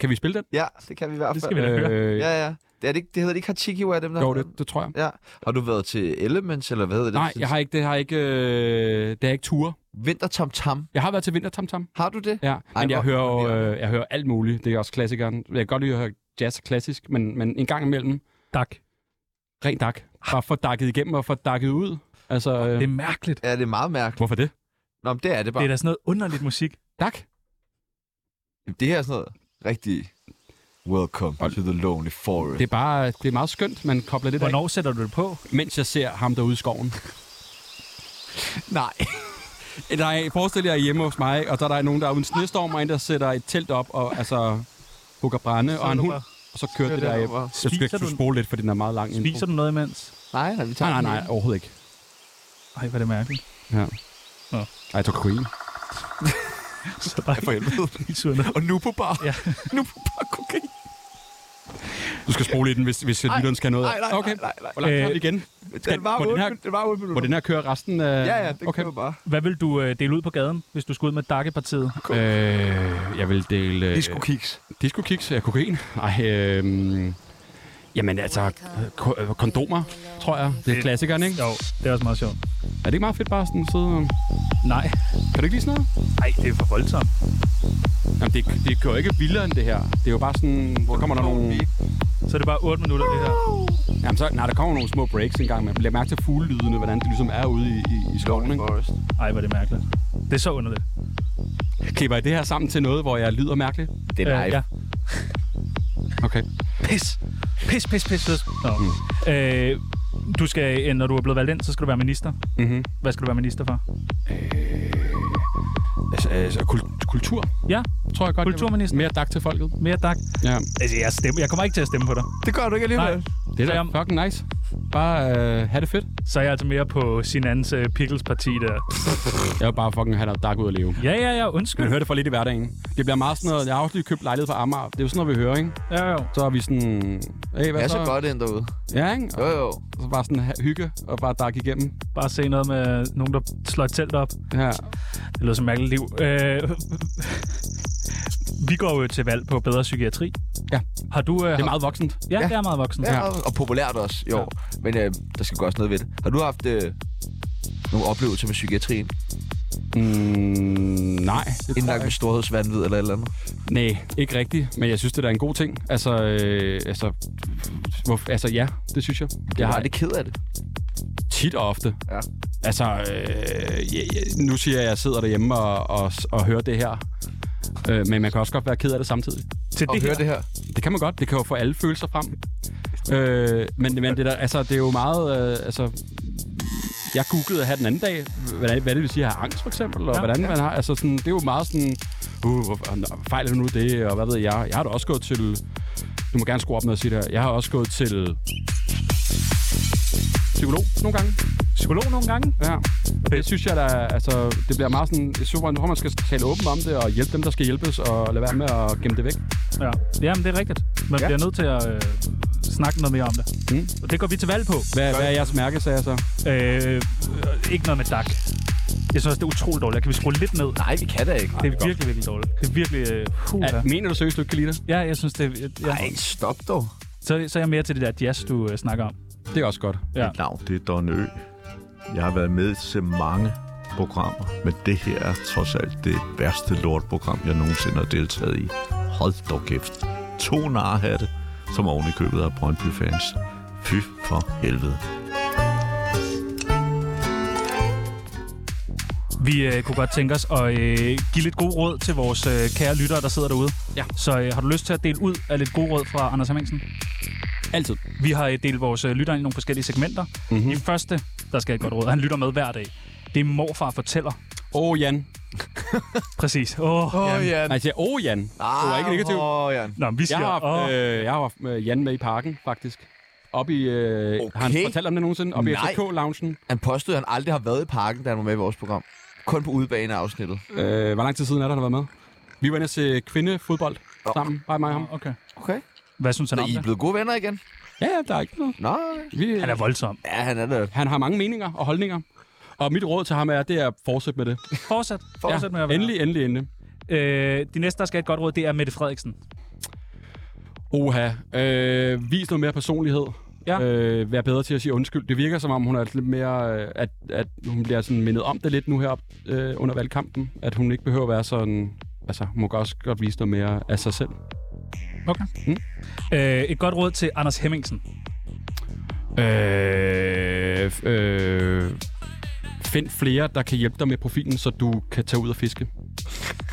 Speaker 4: Kan vi spille den?
Speaker 1: Ja, det kan vi i hvert fald.
Speaker 3: Det skal vi da høre.
Speaker 4: Øh,
Speaker 1: Ja, ja. Det, er det, ikke, det hedder det ikke Hachikiwa, dem der?
Speaker 4: Jo, det, det tror jeg.
Speaker 1: Ja. Har du været til Elements, eller hvad hedder det?
Speaker 4: Nej, jeg har ikke, det har ikke, øh, det har ikke ture.
Speaker 1: Vinter Tom Tam.
Speaker 4: Jeg har været til Vinter Tam Tam.
Speaker 1: Har du det?
Speaker 4: Ja, men
Speaker 1: hvor-
Speaker 4: jeg hører
Speaker 1: hvor
Speaker 4: jo,
Speaker 1: virker
Speaker 4: øh, jeg hører alt muligt. Det er også klassikeren. Jeg kan godt lide at høre jazz og klassisk, men, men en gang imellem,
Speaker 3: Dak.
Speaker 4: rent dak. Bare få dakket igennem og få dakket ud. Altså, øh,
Speaker 3: Det er mærkeligt.
Speaker 1: Ja, det er meget mærkeligt.
Speaker 4: hvorfor det?
Speaker 1: Nå, men det er det
Speaker 3: Det
Speaker 1: bare.
Speaker 3: er da sådan noget underligt musik.
Speaker 4: Dak.
Speaker 1: Det, her er sådan noget rigtig... Welcome to the Lonely Forest.
Speaker 4: Det er bare, det er meget skønt, man kobler lidt af,
Speaker 3: Hvornår sætter du det på?
Speaker 4: mens jeg ser ham derude i skoven.
Speaker 1: Nej.
Speaker 4: Nej, forestil jer hjemme hos mig, og der er der nogen, der er uden snestorm, og en, der sætter et telt op og altså hugger brænde, og en
Speaker 3: du
Speaker 4: hund,
Speaker 3: bare-
Speaker 4: og så kører det
Speaker 1: det
Speaker 4: der hjem.
Speaker 1: over.
Speaker 4: Jeg skal
Speaker 3: Spiser
Speaker 4: ikke
Speaker 3: du
Speaker 4: kunne
Speaker 3: den?
Speaker 4: spole lidt, for den er meget lang intro.
Speaker 3: Spiser du noget imens?
Speaker 1: Nej, nej, vi tager
Speaker 4: Nej,
Speaker 1: den
Speaker 4: nej, nej,
Speaker 1: igen.
Speaker 4: overhovedet ikke.
Speaker 3: Ej, hvor er det mærkeligt.
Speaker 4: Ja.
Speaker 3: Nå.
Speaker 4: Ej, jeg tog kokain.
Speaker 3: Så bare
Speaker 1: For helvede.
Speaker 3: helt sur nu.
Speaker 1: Og nu på bar.
Speaker 3: Ja.
Speaker 1: nu på bar kokain.
Speaker 4: Du skal spole i den, hvis, hvis lytteren skal have noget.
Speaker 1: Nej, nej,
Speaker 4: okay.
Speaker 1: nej, nej, nej.
Speaker 4: Hvor langt
Speaker 3: Øh,
Speaker 4: øh, igen?
Speaker 1: Den var
Speaker 4: må den
Speaker 1: otte
Speaker 4: her-
Speaker 1: min- den var otte
Speaker 4: Hvor
Speaker 1: minutter.
Speaker 4: den her kører resten af...
Speaker 1: Ja, ja, det okay.
Speaker 4: okay.
Speaker 1: kører bare.
Speaker 3: Hvad vil du øh, dele ud på gaden, hvis du skulle ud med Dakkepartiet?
Speaker 4: Øh, jeg vil dele... Øh,
Speaker 1: Disco Kicks.
Speaker 4: Disco kicks af kokain. Ej, øh, jamen altså, øh, ko- øh, kondomer, tror jeg. Det er klassikeren, ikke?
Speaker 3: Jo, det er også meget sjovt.
Speaker 4: Er det ikke meget fedt bare sådan at sidde og...
Speaker 3: Nej,
Speaker 4: Kan du ikke lide sådan noget?
Speaker 3: nej, det er for voldsomt.
Speaker 4: Jamen, det, det kører ikke vildere end det her. Det er jo bare sådan... Hvor kommer der nogle...
Speaker 3: Så er det bare 8 minutter, det her.
Speaker 4: Jamen, så, nej, der kommer nogle små breaks engang. Man bliver mærke til fuglelydene, hvordan det ligesom er ude i, i, i skoven. Ikke?
Speaker 1: Forest.
Speaker 3: Ej, hvor er det mærkeligt. Det er så underligt.
Speaker 4: Klipper I det her sammen til noget, hvor jeg lyder mærkeligt?
Speaker 1: Det er live.
Speaker 3: Øh, ja.
Speaker 4: Okay.
Speaker 3: Pis. Pis, pis, pis, pis. Nå. Mm. Øh, du skal, øh, når du er blevet valgt ind, så skal du være minister.
Speaker 4: Mm-hmm.
Speaker 3: Hvad skal du være minister for?
Speaker 4: Altså, altså kul- kultur,
Speaker 3: Ja,
Speaker 4: tror jeg godt. jeg vil.
Speaker 3: Kulturminister.
Speaker 4: Mere dag til folket.
Speaker 3: mere dak.
Speaker 4: Ja.
Speaker 3: Altså, jeg, stemmer. jeg kommer ikke til at stemme på dig.
Speaker 1: Det gør du ikke alligevel.
Speaker 3: Nej.
Speaker 4: Det er da
Speaker 3: Jamen.
Speaker 4: fucking nice. Bare øh, have det fedt.
Speaker 3: Så er jeg altså mere på sin andens øh, pickles-parti der.
Speaker 4: Jeg vil bare fucking have noget dark ud at leve.
Speaker 3: Ja, ja, ja,
Speaker 4: Man
Speaker 3: undskyld.
Speaker 4: hører det for lidt i hverdagen. Det bliver meget sådan noget, jeg har også lige købt lejlighed på Amager. Det er jo sådan noget, vi hører, ikke?
Speaker 3: Ja, jo.
Speaker 4: Så er vi sådan... Hey, hvad
Speaker 1: Ja, så godt ind derude.
Speaker 4: Ja, ikke?
Speaker 1: Jo,
Speaker 4: Og
Speaker 1: jo.
Speaker 4: så bare sådan ha- hygge og bare dark igennem.
Speaker 3: Bare se noget med nogen, der slår et telt op.
Speaker 4: Ja.
Speaker 3: Det lyder som et mærkeligt liv. Øh, vi går jo til valg på bedre psykiatri.
Speaker 4: Ja.
Speaker 3: Har du... Øh,
Speaker 4: Det er meget voksent.
Speaker 3: Ja, det er meget voksen.
Speaker 1: Ja, og, og populært også, jo. Ja. Men øh, der skal gøres noget ved det. Har du haft øh, nogle oplevelser med psykiatrien?
Speaker 4: Mm, nej. det tror
Speaker 1: Indlagt med storhedsvandvid eller et eller andet?
Speaker 4: Nej, ikke rigtigt, men jeg synes, det er da en god ting. Altså, øh, altså, hvor, altså ja, det synes jeg. Jeg har
Speaker 1: det
Speaker 4: det
Speaker 1: ked af det.
Speaker 4: tit og ofte.
Speaker 1: Ja.
Speaker 4: Altså, øh, jeg, jeg, nu siger jeg, at jeg sidder derhjemme og, og, og hører det her. Øh, men man kan også godt være ked af det samtidig.
Speaker 3: Til
Speaker 1: Og
Speaker 3: det her.
Speaker 1: høre det her.
Speaker 4: Det kan man godt. Det kan jo få alle følelser frem. Øh, men men det, der, altså, det er jo meget... Øh, altså, jeg googlede her den anden dag, hvordan, hvad det vil sige at have angst, for eksempel,
Speaker 3: Ja.
Speaker 4: og ja, hvordan man har... Altså, sådan, det er jo meget sådan... Uh, hvor- nå, fejler du nu det, og hvad ved jeg? Jeg har da også gået til... Du må gerne skrue op med at sige det her. Jeg har også gået til psykolog nogle gange.
Speaker 3: Psykolog nogle gange.
Speaker 4: Ja. Og det synes jeg, der, altså, det bliver meget sådan... Jeg synes, man, man skal tale åbent om det, og hjælpe dem, der skal hjælpes, og lade være med at gemme det væk.
Speaker 3: Ja. Jamen, det er rigtigt. Man ja.
Speaker 1: Ja.
Speaker 3: bliver nødt til at øh, snakke noget mere om det.
Speaker 4: Mm.
Speaker 3: Og det går vi til valg på.
Speaker 4: Hvad, hvad er jeres mærke, sagde jeg så?
Speaker 3: Øh, øh, ikke noget med DAC. Jeg synes også, det er utroligt dårligt. Kan vi skrue lidt ned?
Speaker 1: Nej, vi kan da ikke.
Speaker 3: Det er virkelig, virkelig dårligt. Det er virkelig... Øh, huh,
Speaker 4: Ja. Mener du seriøst, du ikke kan lide det?
Speaker 3: ja, jeg synes, det er... Jeg,
Speaker 1: Nej, stop dog.
Speaker 3: så, så er jeg mere til det der jazz, du øh, snakker om.
Speaker 4: Det er også godt.
Speaker 3: Ja.
Speaker 8: Mit navn det er Don Ø. Jeg har været med til mange programmer, men det her er trods alt det værste lortprogram, jeg nogensinde har deltaget i. Hold dog kæft. To narhatte, som oven i købet af Brøndby-fans. Fy for helvede.
Speaker 3: Vi øh, kunne godt tænke os at øh, give lidt gode råd til vores øh, kære lyttere, der sidder derude.
Speaker 4: Ja.
Speaker 3: Så øh, har du lyst til at dele ud af lidt gode råd fra Anders Hemmingsen?
Speaker 4: Altid.
Speaker 3: Vi har øh, delt vores øh, lyttere ind i nogle forskellige segmenter. Mm-hmm. I første, der skal jeg et godt råd. Han lytter med hver dag. Det er morfar fortæller.
Speaker 4: Åh, oh, Jan.
Speaker 3: Præcis. Åh, oh,
Speaker 1: ja.
Speaker 4: Nej, jeg siger, åh, oh, Jan. det var ikke negativt.
Speaker 1: Åh, Jan.
Speaker 3: Nå, men vi
Speaker 4: Jeg
Speaker 3: siger...
Speaker 4: har haft,
Speaker 3: åh.
Speaker 4: øh, jeg har haft øh, Jan med i parken, faktisk. Op i... Øh, okay. Har han
Speaker 1: Okay.
Speaker 4: fortalt om det nogensinde? Op i
Speaker 1: Nej.
Speaker 4: FCK-loungen.
Speaker 1: Han påstod, at han aldrig har været i parken, da han var med i vores program. Kun på udebane af afsnittet.
Speaker 4: Øh, hvor lang tid siden er der, han har været med? Vi var inde til kvindefodbold sammen, bare mig og ham.
Speaker 3: Okay.
Speaker 1: Okay.
Speaker 3: Hvad synes han
Speaker 1: Så
Speaker 3: om
Speaker 1: I er
Speaker 3: det?
Speaker 1: blevet gode venner igen?
Speaker 4: Ja, ja, der er ikke noget.
Speaker 1: Nå,
Speaker 4: Vi,
Speaker 3: Han er voldsom.
Speaker 1: ja, han er der.
Speaker 4: han har mange meninger og holdninger. Og mit råd til ham er, det er at fortsætte med det.
Speaker 3: Fortsæt. Fortsæt med at være.
Speaker 4: endelig, endelig, endelig.
Speaker 3: Øh, de næste, der skal have et godt råd, det er Mette Frederiksen.
Speaker 4: Oha. Øh, vis noget mere personlighed.
Speaker 3: Ja.
Speaker 4: Øh, vær bedre til at sige undskyld. Det virker som om, hun er lidt mere, øh, at, at hun bliver sådan mindet om det lidt nu her øh, under valgkampen. At hun ikke behøver at være sådan... Altså, hun må også godt vise noget mere af sig selv.
Speaker 3: Okay. Mm. Øh, et godt råd til Anders Hemmingsen.
Speaker 4: Øh, f- øh, find flere, der kan hjælpe dig med profilen, så du kan tage ud og fiske.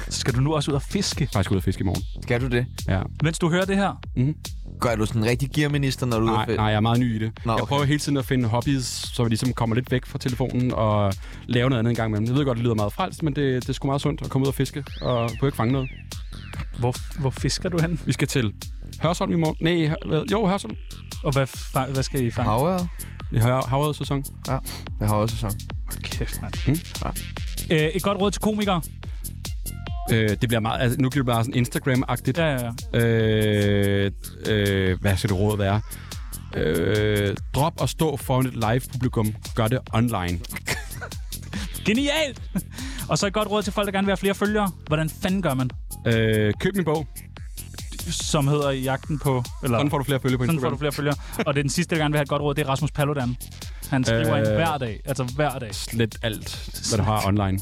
Speaker 3: Skal du nu også ud og fiske?
Speaker 4: Faktisk ud og fiske i morgen.
Speaker 1: Skal du det?
Speaker 4: Ja.
Speaker 3: Mens du hører det her,
Speaker 1: Gør du sådan en rigtig gearminister, når du er ude
Speaker 4: Nej,
Speaker 1: at fælde?
Speaker 4: nej, jeg er meget ny i det.
Speaker 1: Nå,
Speaker 4: Nå, okay. Jeg
Speaker 1: okay.
Speaker 4: prøver hele tiden at finde hobbies, så vi ligesom kommer lidt væk fra telefonen og laver noget andet en gang imellem. Jeg ved godt, det lyder meget frelst, men det, det er sgu meget sundt at komme ud og fiske og på ikke fange noget.
Speaker 3: hvor, hvor fisker du hen?
Speaker 4: Vi skal til Hørsholm i morgen. Nej, Hør- hvad? jo, Hørsholm.
Speaker 3: Og hvad, fa- hvad skal I fange?
Speaker 1: Havre?
Speaker 4: Det er Hør- Havørreds sæson.
Speaker 1: Ja, jeg har også sådan.
Speaker 3: Kæft, mand.
Speaker 4: Mm.
Speaker 3: Øh, et godt råd til komikere.
Speaker 4: Øh, det bliver meget, altså, nu bliver det bare sådan Instagram-agtigt.
Speaker 3: Ja, ja, ja.
Speaker 4: Øh, øh, hvad skal det råd være? Øh, drop og stå foran et live-publikum. Gør det online.
Speaker 3: Genialt! og så et godt råd til folk, der gerne vil have flere følgere. Hvordan fanden gør man?
Speaker 4: Øh, køb min bog.
Speaker 3: Som hedder Jagten på... Eller,
Speaker 4: Sådan får du flere følge på
Speaker 3: sådan får
Speaker 4: Instagram.
Speaker 3: du flere følgere. og det er den sidste, der gerne vil have et godt råd, det er Rasmus Paludan. Han skriver øh...
Speaker 4: Øh.
Speaker 3: ind hver dag. Altså hver dag.
Speaker 4: Slet alt, hvad du har online.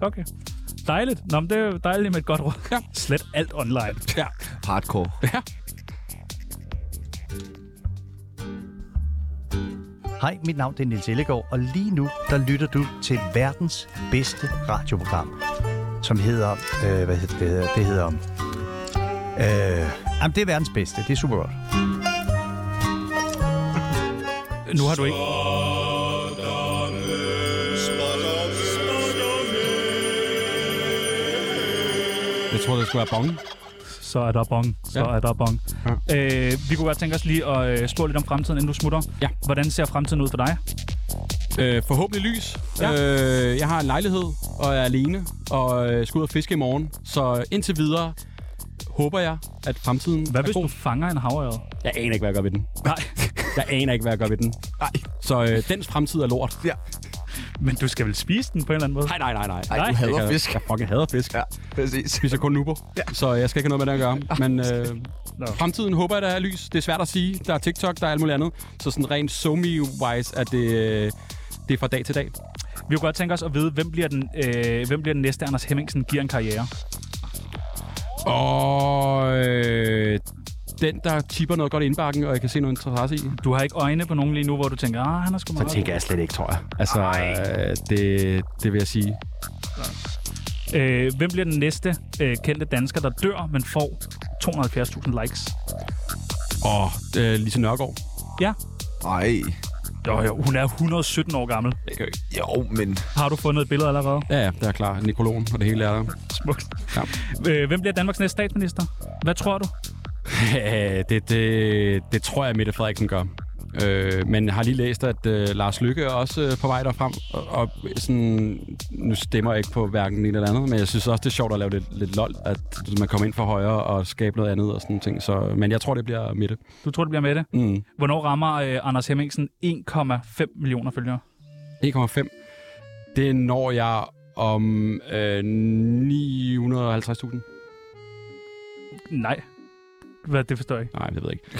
Speaker 3: Okay. Dejligt. Nå, men det er jo dejligt med et godt råd.
Speaker 4: Ja.
Speaker 3: Slet alt online.
Speaker 4: Ja.
Speaker 1: Hardcore.
Speaker 9: Hej, mit navn det er Nils Ellegaard, og lige nu der lytter du til verdens bedste radioprogram, som hedder... Øh, hvad hedder det? hedder- Det hedder... Øh, jamen, det er verdens bedste. Det er super godt.
Speaker 3: Nu har du ikke...
Speaker 4: Jeg tror, det skulle være bongen.
Speaker 3: Så så er der bong, så
Speaker 4: Ja.
Speaker 3: ja. er der bong. Ja. Øh, vi kunne godt tænke os lige at øh, spå lidt om fremtiden, inden du smutter.
Speaker 4: Ja.
Speaker 3: Hvordan ser fremtiden ud for dig?
Speaker 4: Øh, forhåbentlig lys.
Speaker 3: Ja.
Speaker 4: Ja. Øh, jeg har en lejlighed og er alene og øh, skal ud og fiske i morgen. Så indtil videre håber jeg, at fremtiden
Speaker 3: Hvad
Speaker 4: er
Speaker 3: hvis
Speaker 4: god.
Speaker 3: du fanger en havørred?
Speaker 4: Jeg aner ikke, hvad jeg gør ved den.
Speaker 3: Nej,
Speaker 4: Jeg aner ikke, hvad jeg gør ved den.
Speaker 1: Nej.
Speaker 4: Så øh, dens fremtid er lort.
Speaker 1: Ja.
Speaker 3: men du skal vel spise den på en eller anden måde?
Speaker 4: Nej, nej, nej, nej.
Speaker 1: Ej, du
Speaker 4: Jeg
Speaker 1: hader
Speaker 4: kan-
Speaker 1: fisk.
Speaker 4: Jeg fucking hader fisk.
Speaker 1: Ja, præcis.
Speaker 4: spiser kun nuber, ja. så jeg skal ikke have noget med det at gøre. Men øh, fremtiden håber jeg, der er lys. Det er svært at sige. Der er TikTok, der er alt muligt andet. Så sådan rent somi-wise er det, øh, det er fra dag til dag.
Speaker 3: Vi kunne godt tænke os at vide, hvem bliver den, øh, hvem bliver den næste Anders Hemmingsen giver en karriere?
Speaker 4: Og øh, den, der tipper noget godt i indbakken, og jeg kan se noget interesse i.
Speaker 3: Du har ikke øjne på nogen lige nu, hvor du tænker, ah, han er sgu meget...
Speaker 4: jeg slet ikke, tror jeg. Altså, øh, det, det vil jeg sige.
Speaker 3: Øh, hvem bliver den næste øh, kendte dansker, der dør, men får 270.000 likes?
Speaker 4: Og øh, Lise Nørgaard.
Speaker 3: Ja.
Speaker 1: Ej.
Speaker 3: Jo, jo, hun er 117 år gammel.
Speaker 4: Det kan jeg ikke.
Speaker 1: Jo, men...
Speaker 3: Har du fundet et billede allerede?
Speaker 4: Ja, ja, der er klar. Nikologen og det hele er der.
Speaker 3: Smukt.
Speaker 4: Ja.
Speaker 3: Øh, hvem bliver Danmarks næste statsminister? Hvad tror du?
Speaker 4: Ja, det, det, det tror jeg, Mette Frederiksen gør. Øh, men jeg har lige læst, at øh, Lars Lykke er også øh, på vej derfrem. Og, og sådan, nu stemmer jeg ikke på hverken det ene eller andet, men jeg synes også, det er sjovt at lave lidt, lidt lol, at man kommer ind fra højre og skaber noget andet og sådan ting. Så, men jeg tror, det bliver Mette.
Speaker 3: Du tror, det bliver med det.
Speaker 4: Mm.
Speaker 3: Hvornår rammer øh, Anders Hemmingsen 1,5 millioner følgere?
Speaker 4: 1,5. Det når jeg om øh, 950.000.
Speaker 3: Nej. Hvad, det forstår jeg ikke.
Speaker 4: Nej, det ved jeg ikke.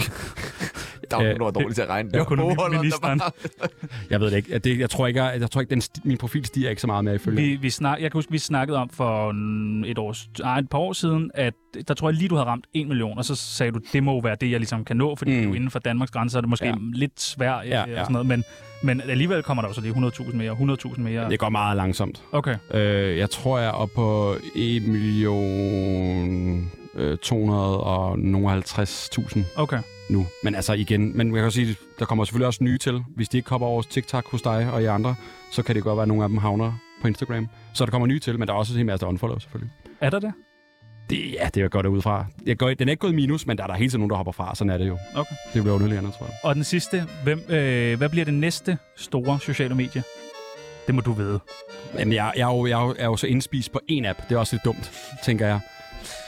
Speaker 1: Der er jo
Speaker 4: Øh,
Speaker 1: nogen, der var dårlig til at regne. Det var
Speaker 3: økonomiministeren.
Speaker 4: Jeg ved det ikke. Det, jeg tror ikke, jeg, jeg tror ikke den, sti- min profil stiger ikke så meget med ifølge.
Speaker 3: Vi, vi snak, jeg kan huske, vi snakkede om for mm, et, års, ej, et par år siden, at der tror jeg lige, du havde ramt 1 million, og så sagde du, det må jo være det, jeg ligesom kan nå, fordi
Speaker 4: Mm.
Speaker 3: mm. det er jo inden for Danmarks grænser, er det måske
Speaker 4: Ja.
Speaker 3: ja. lidt svært
Speaker 4: Ja,
Speaker 3: ja, ja.
Speaker 4: ja.
Speaker 3: og sådan noget, men, men alligevel kommer der jo så lige 100.000 mere, 100.000 mere.
Speaker 4: Det går meget langsomt.
Speaker 3: Okay,
Speaker 4: Øh, jeg tror, jeg er oppe på 1 million øh, 250.000
Speaker 3: okay.
Speaker 4: nu. Men altså igen, men jeg kan jo sige, der kommer selvfølgelig også nye til. Hvis de ikke kommer over TikTok hos dig og jer andre, så kan det godt være, at nogle af dem havner på Instagram. Så der kommer nye til, men der er også en hel masse, der unfollow selvfølgelig.
Speaker 3: Er der det?
Speaker 4: Det, ja, det er jeg godt ud fra. Jeg går, den er ikke gået i minus, men der er der hele tiden nogen, der hopper fra. Sådan er det jo.
Speaker 3: Okay.
Speaker 4: Det bliver underligt andet, tror jeg.
Speaker 3: Og den sidste, hvem, øh, hvad bliver det næste store sociale medie? Det må du vide.
Speaker 4: Jamen, jeg, jeg, er jo, jeg er jo- er jo så indspist på en app. Det er også lidt dumt, tænker jeg.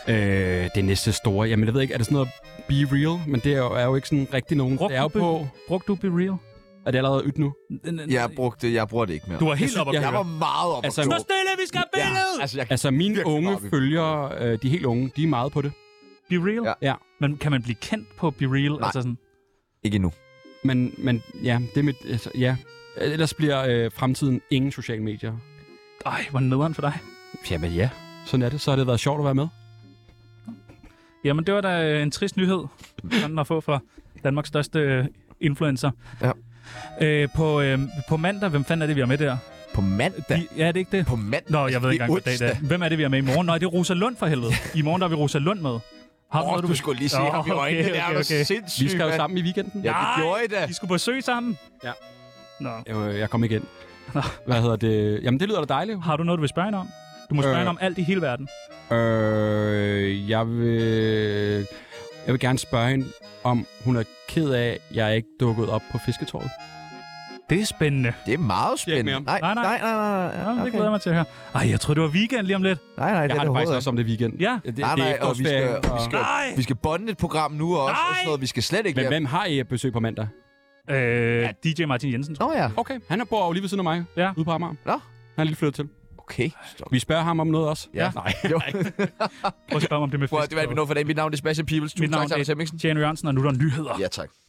Speaker 4: Øh, det næste store. Jamen, jeg ved ikke, er det sådan noget Be Real? Men det er jo, er jo ikke sådan rigtig nogen.
Speaker 3: Brugte
Speaker 4: det er jo
Speaker 3: du Be-
Speaker 4: på...
Speaker 3: Brugte du Be Real?
Speaker 4: Er det allerede ydt nu?
Speaker 3: N- n-
Speaker 1: Jeg brugte det, jeg bruger det ikke mere.
Speaker 3: Du var helt
Speaker 4: synes,
Speaker 3: oppe at
Speaker 4: jeg
Speaker 1: Jeg
Speaker 3: køre.
Speaker 1: var meget op
Speaker 4: Altså,
Speaker 1: at
Speaker 4: nu
Speaker 1: køre.
Speaker 3: Stille, vi skal have billedet!
Speaker 1: Ja, altså, jeg,
Speaker 4: Altså, mine
Speaker 1: Virkelig
Speaker 4: unge
Speaker 1: meget op i-
Speaker 4: følgere, øh, de helt unge, de er meget på det.
Speaker 3: Be Real?
Speaker 1: Ja.
Speaker 4: Ja.
Speaker 3: Men kan man blive kendt på Be Real? Nej. Altså sådan,
Speaker 1: ikke endnu.
Speaker 4: Men, men ja, det er mit... Altså, ja. Ellers bliver øh, fremtiden ingen sociale medier.
Speaker 3: ej, hvor nederen for dig.
Speaker 4: Jamen ja. Sådan er det. Så har det været sjovt at være med.
Speaker 3: Jamen, det var da øh, en trist nyhed, sådan at få fra Danmarks største øh, influencer.
Speaker 1: Ja.
Speaker 3: Øh, på, øh, på mandag, hvem fanden er det, vi har med der?
Speaker 1: På mandag?
Speaker 3: I, ja, er det ikke det?
Speaker 1: På mandag?
Speaker 3: Nå, jeg ved ikke
Speaker 1: Det er
Speaker 3: engang, hvad dag det
Speaker 1: onsdag.
Speaker 3: er. Hvem er det, vi har med i morgen? Nej, det er Rosa Lund for helvede. I morgen der er vi Rosa Lund med. Har
Speaker 1: Åh, du skulle lige se
Speaker 3: Nå,
Speaker 1: ham i øjnene.
Speaker 3: okay,
Speaker 1: Det er
Speaker 3: okay,
Speaker 1: jo
Speaker 3: okay.
Speaker 1: sindssygt,
Speaker 4: Vi skal jo
Speaker 1: mand.
Speaker 4: sammen i weekenden.
Speaker 1: Ja, det
Speaker 3: Nej.
Speaker 1: gjorde I da.
Speaker 3: I skulle på sø sammen?
Speaker 4: Ja.
Speaker 3: Nå.
Speaker 4: Øh, jeg kom igen.
Speaker 3: Nå.
Speaker 4: Hvad hedder det? Jamen, det lyder da dejligt.
Speaker 3: Har du noget, du vil spørge hende om? Du må spørge
Speaker 4: Øh.
Speaker 3: hende om alt i hele verden.
Speaker 4: Øh, jeg vil... Jeg vil gerne spørge hende, om hun er ked af, at jeg ikke dukkede op på fisketåret.
Speaker 3: Det er spændende.
Speaker 1: Det er meget
Speaker 4: Det er ikke
Speaker 1: spændende.
Speaker 4: mere.
Speaker 1: Nej, nej,
Speaker 3: Nej,
Speaker 1: nej.
Speaker 3: nej.
Speaker 1: nej, nej,
Speaker 3: Ja, okay. Det
Speaker 1: okay.
Speaker 3: glæder jeg mig til at høre. Ej, jeg tror det var weekend lige om lidt.
Speaker 1: Nej, nej, det
Speaker 4: Jeg
Speaker 1: er
Speaker 4: har
Speaker 1: det
Speaker 4: det faktisk
Speaker 1: overhovedet
Speaker 4: også om det weekend.
Speaker 3: Ja.
Speaker 4: Det,
Speaker 1: Nej,
Speaker 4: det er
Speaker 1: nej, og vi skal,
Speaker 4: efterårsferie,
Speaker 1: vi, skal,
Speaker 3: Nej!
Speaker 1: vi skal bonde et program nu også, og sådan
Speaker 3: Nej!
Speaker 1: noget. Vi skal slet ikke...
Speaker 4: Men
Speaker 1: være-
Speaker 4: hvem har I besøg på mandag?
Speaker 3: Øh, DJ Martin Jensen, tror
Speaker 1: Nå ja,
Speaker 4: Okay, han bor jo lige ved siden af mig.
Speaker 3: Ja.
Speaker 4: Ude på Amager.
Speaker 1: Nå.
Speaker 4: Han er lige flyttet til.
Speaker 1: okay. Stop.
Speaker 4: Vi spørger ham om noget også.
Speaker 1: Ja.
Speaker 4: Nej.
Speaker 1: Jo.
Speaker 3: jeg. Prøv at spørge mig om det med
Speaker 1: Prøv, at-
Speaker 3: fisk.
Speaker 1: det var alt, vi nåede for i dag. Mit navn er Sebastian Peebles.
Speaker 3: Mit
Speaker 1: Tusind tak,
Speaker 3: navn
Speaker 1: Anders
Speaker 3: er
Speaker 1: Hemmingsen.
Speaker 3: Jane Jørgensen, og nu er der nyheder.
Speaker 1: Ja, tak.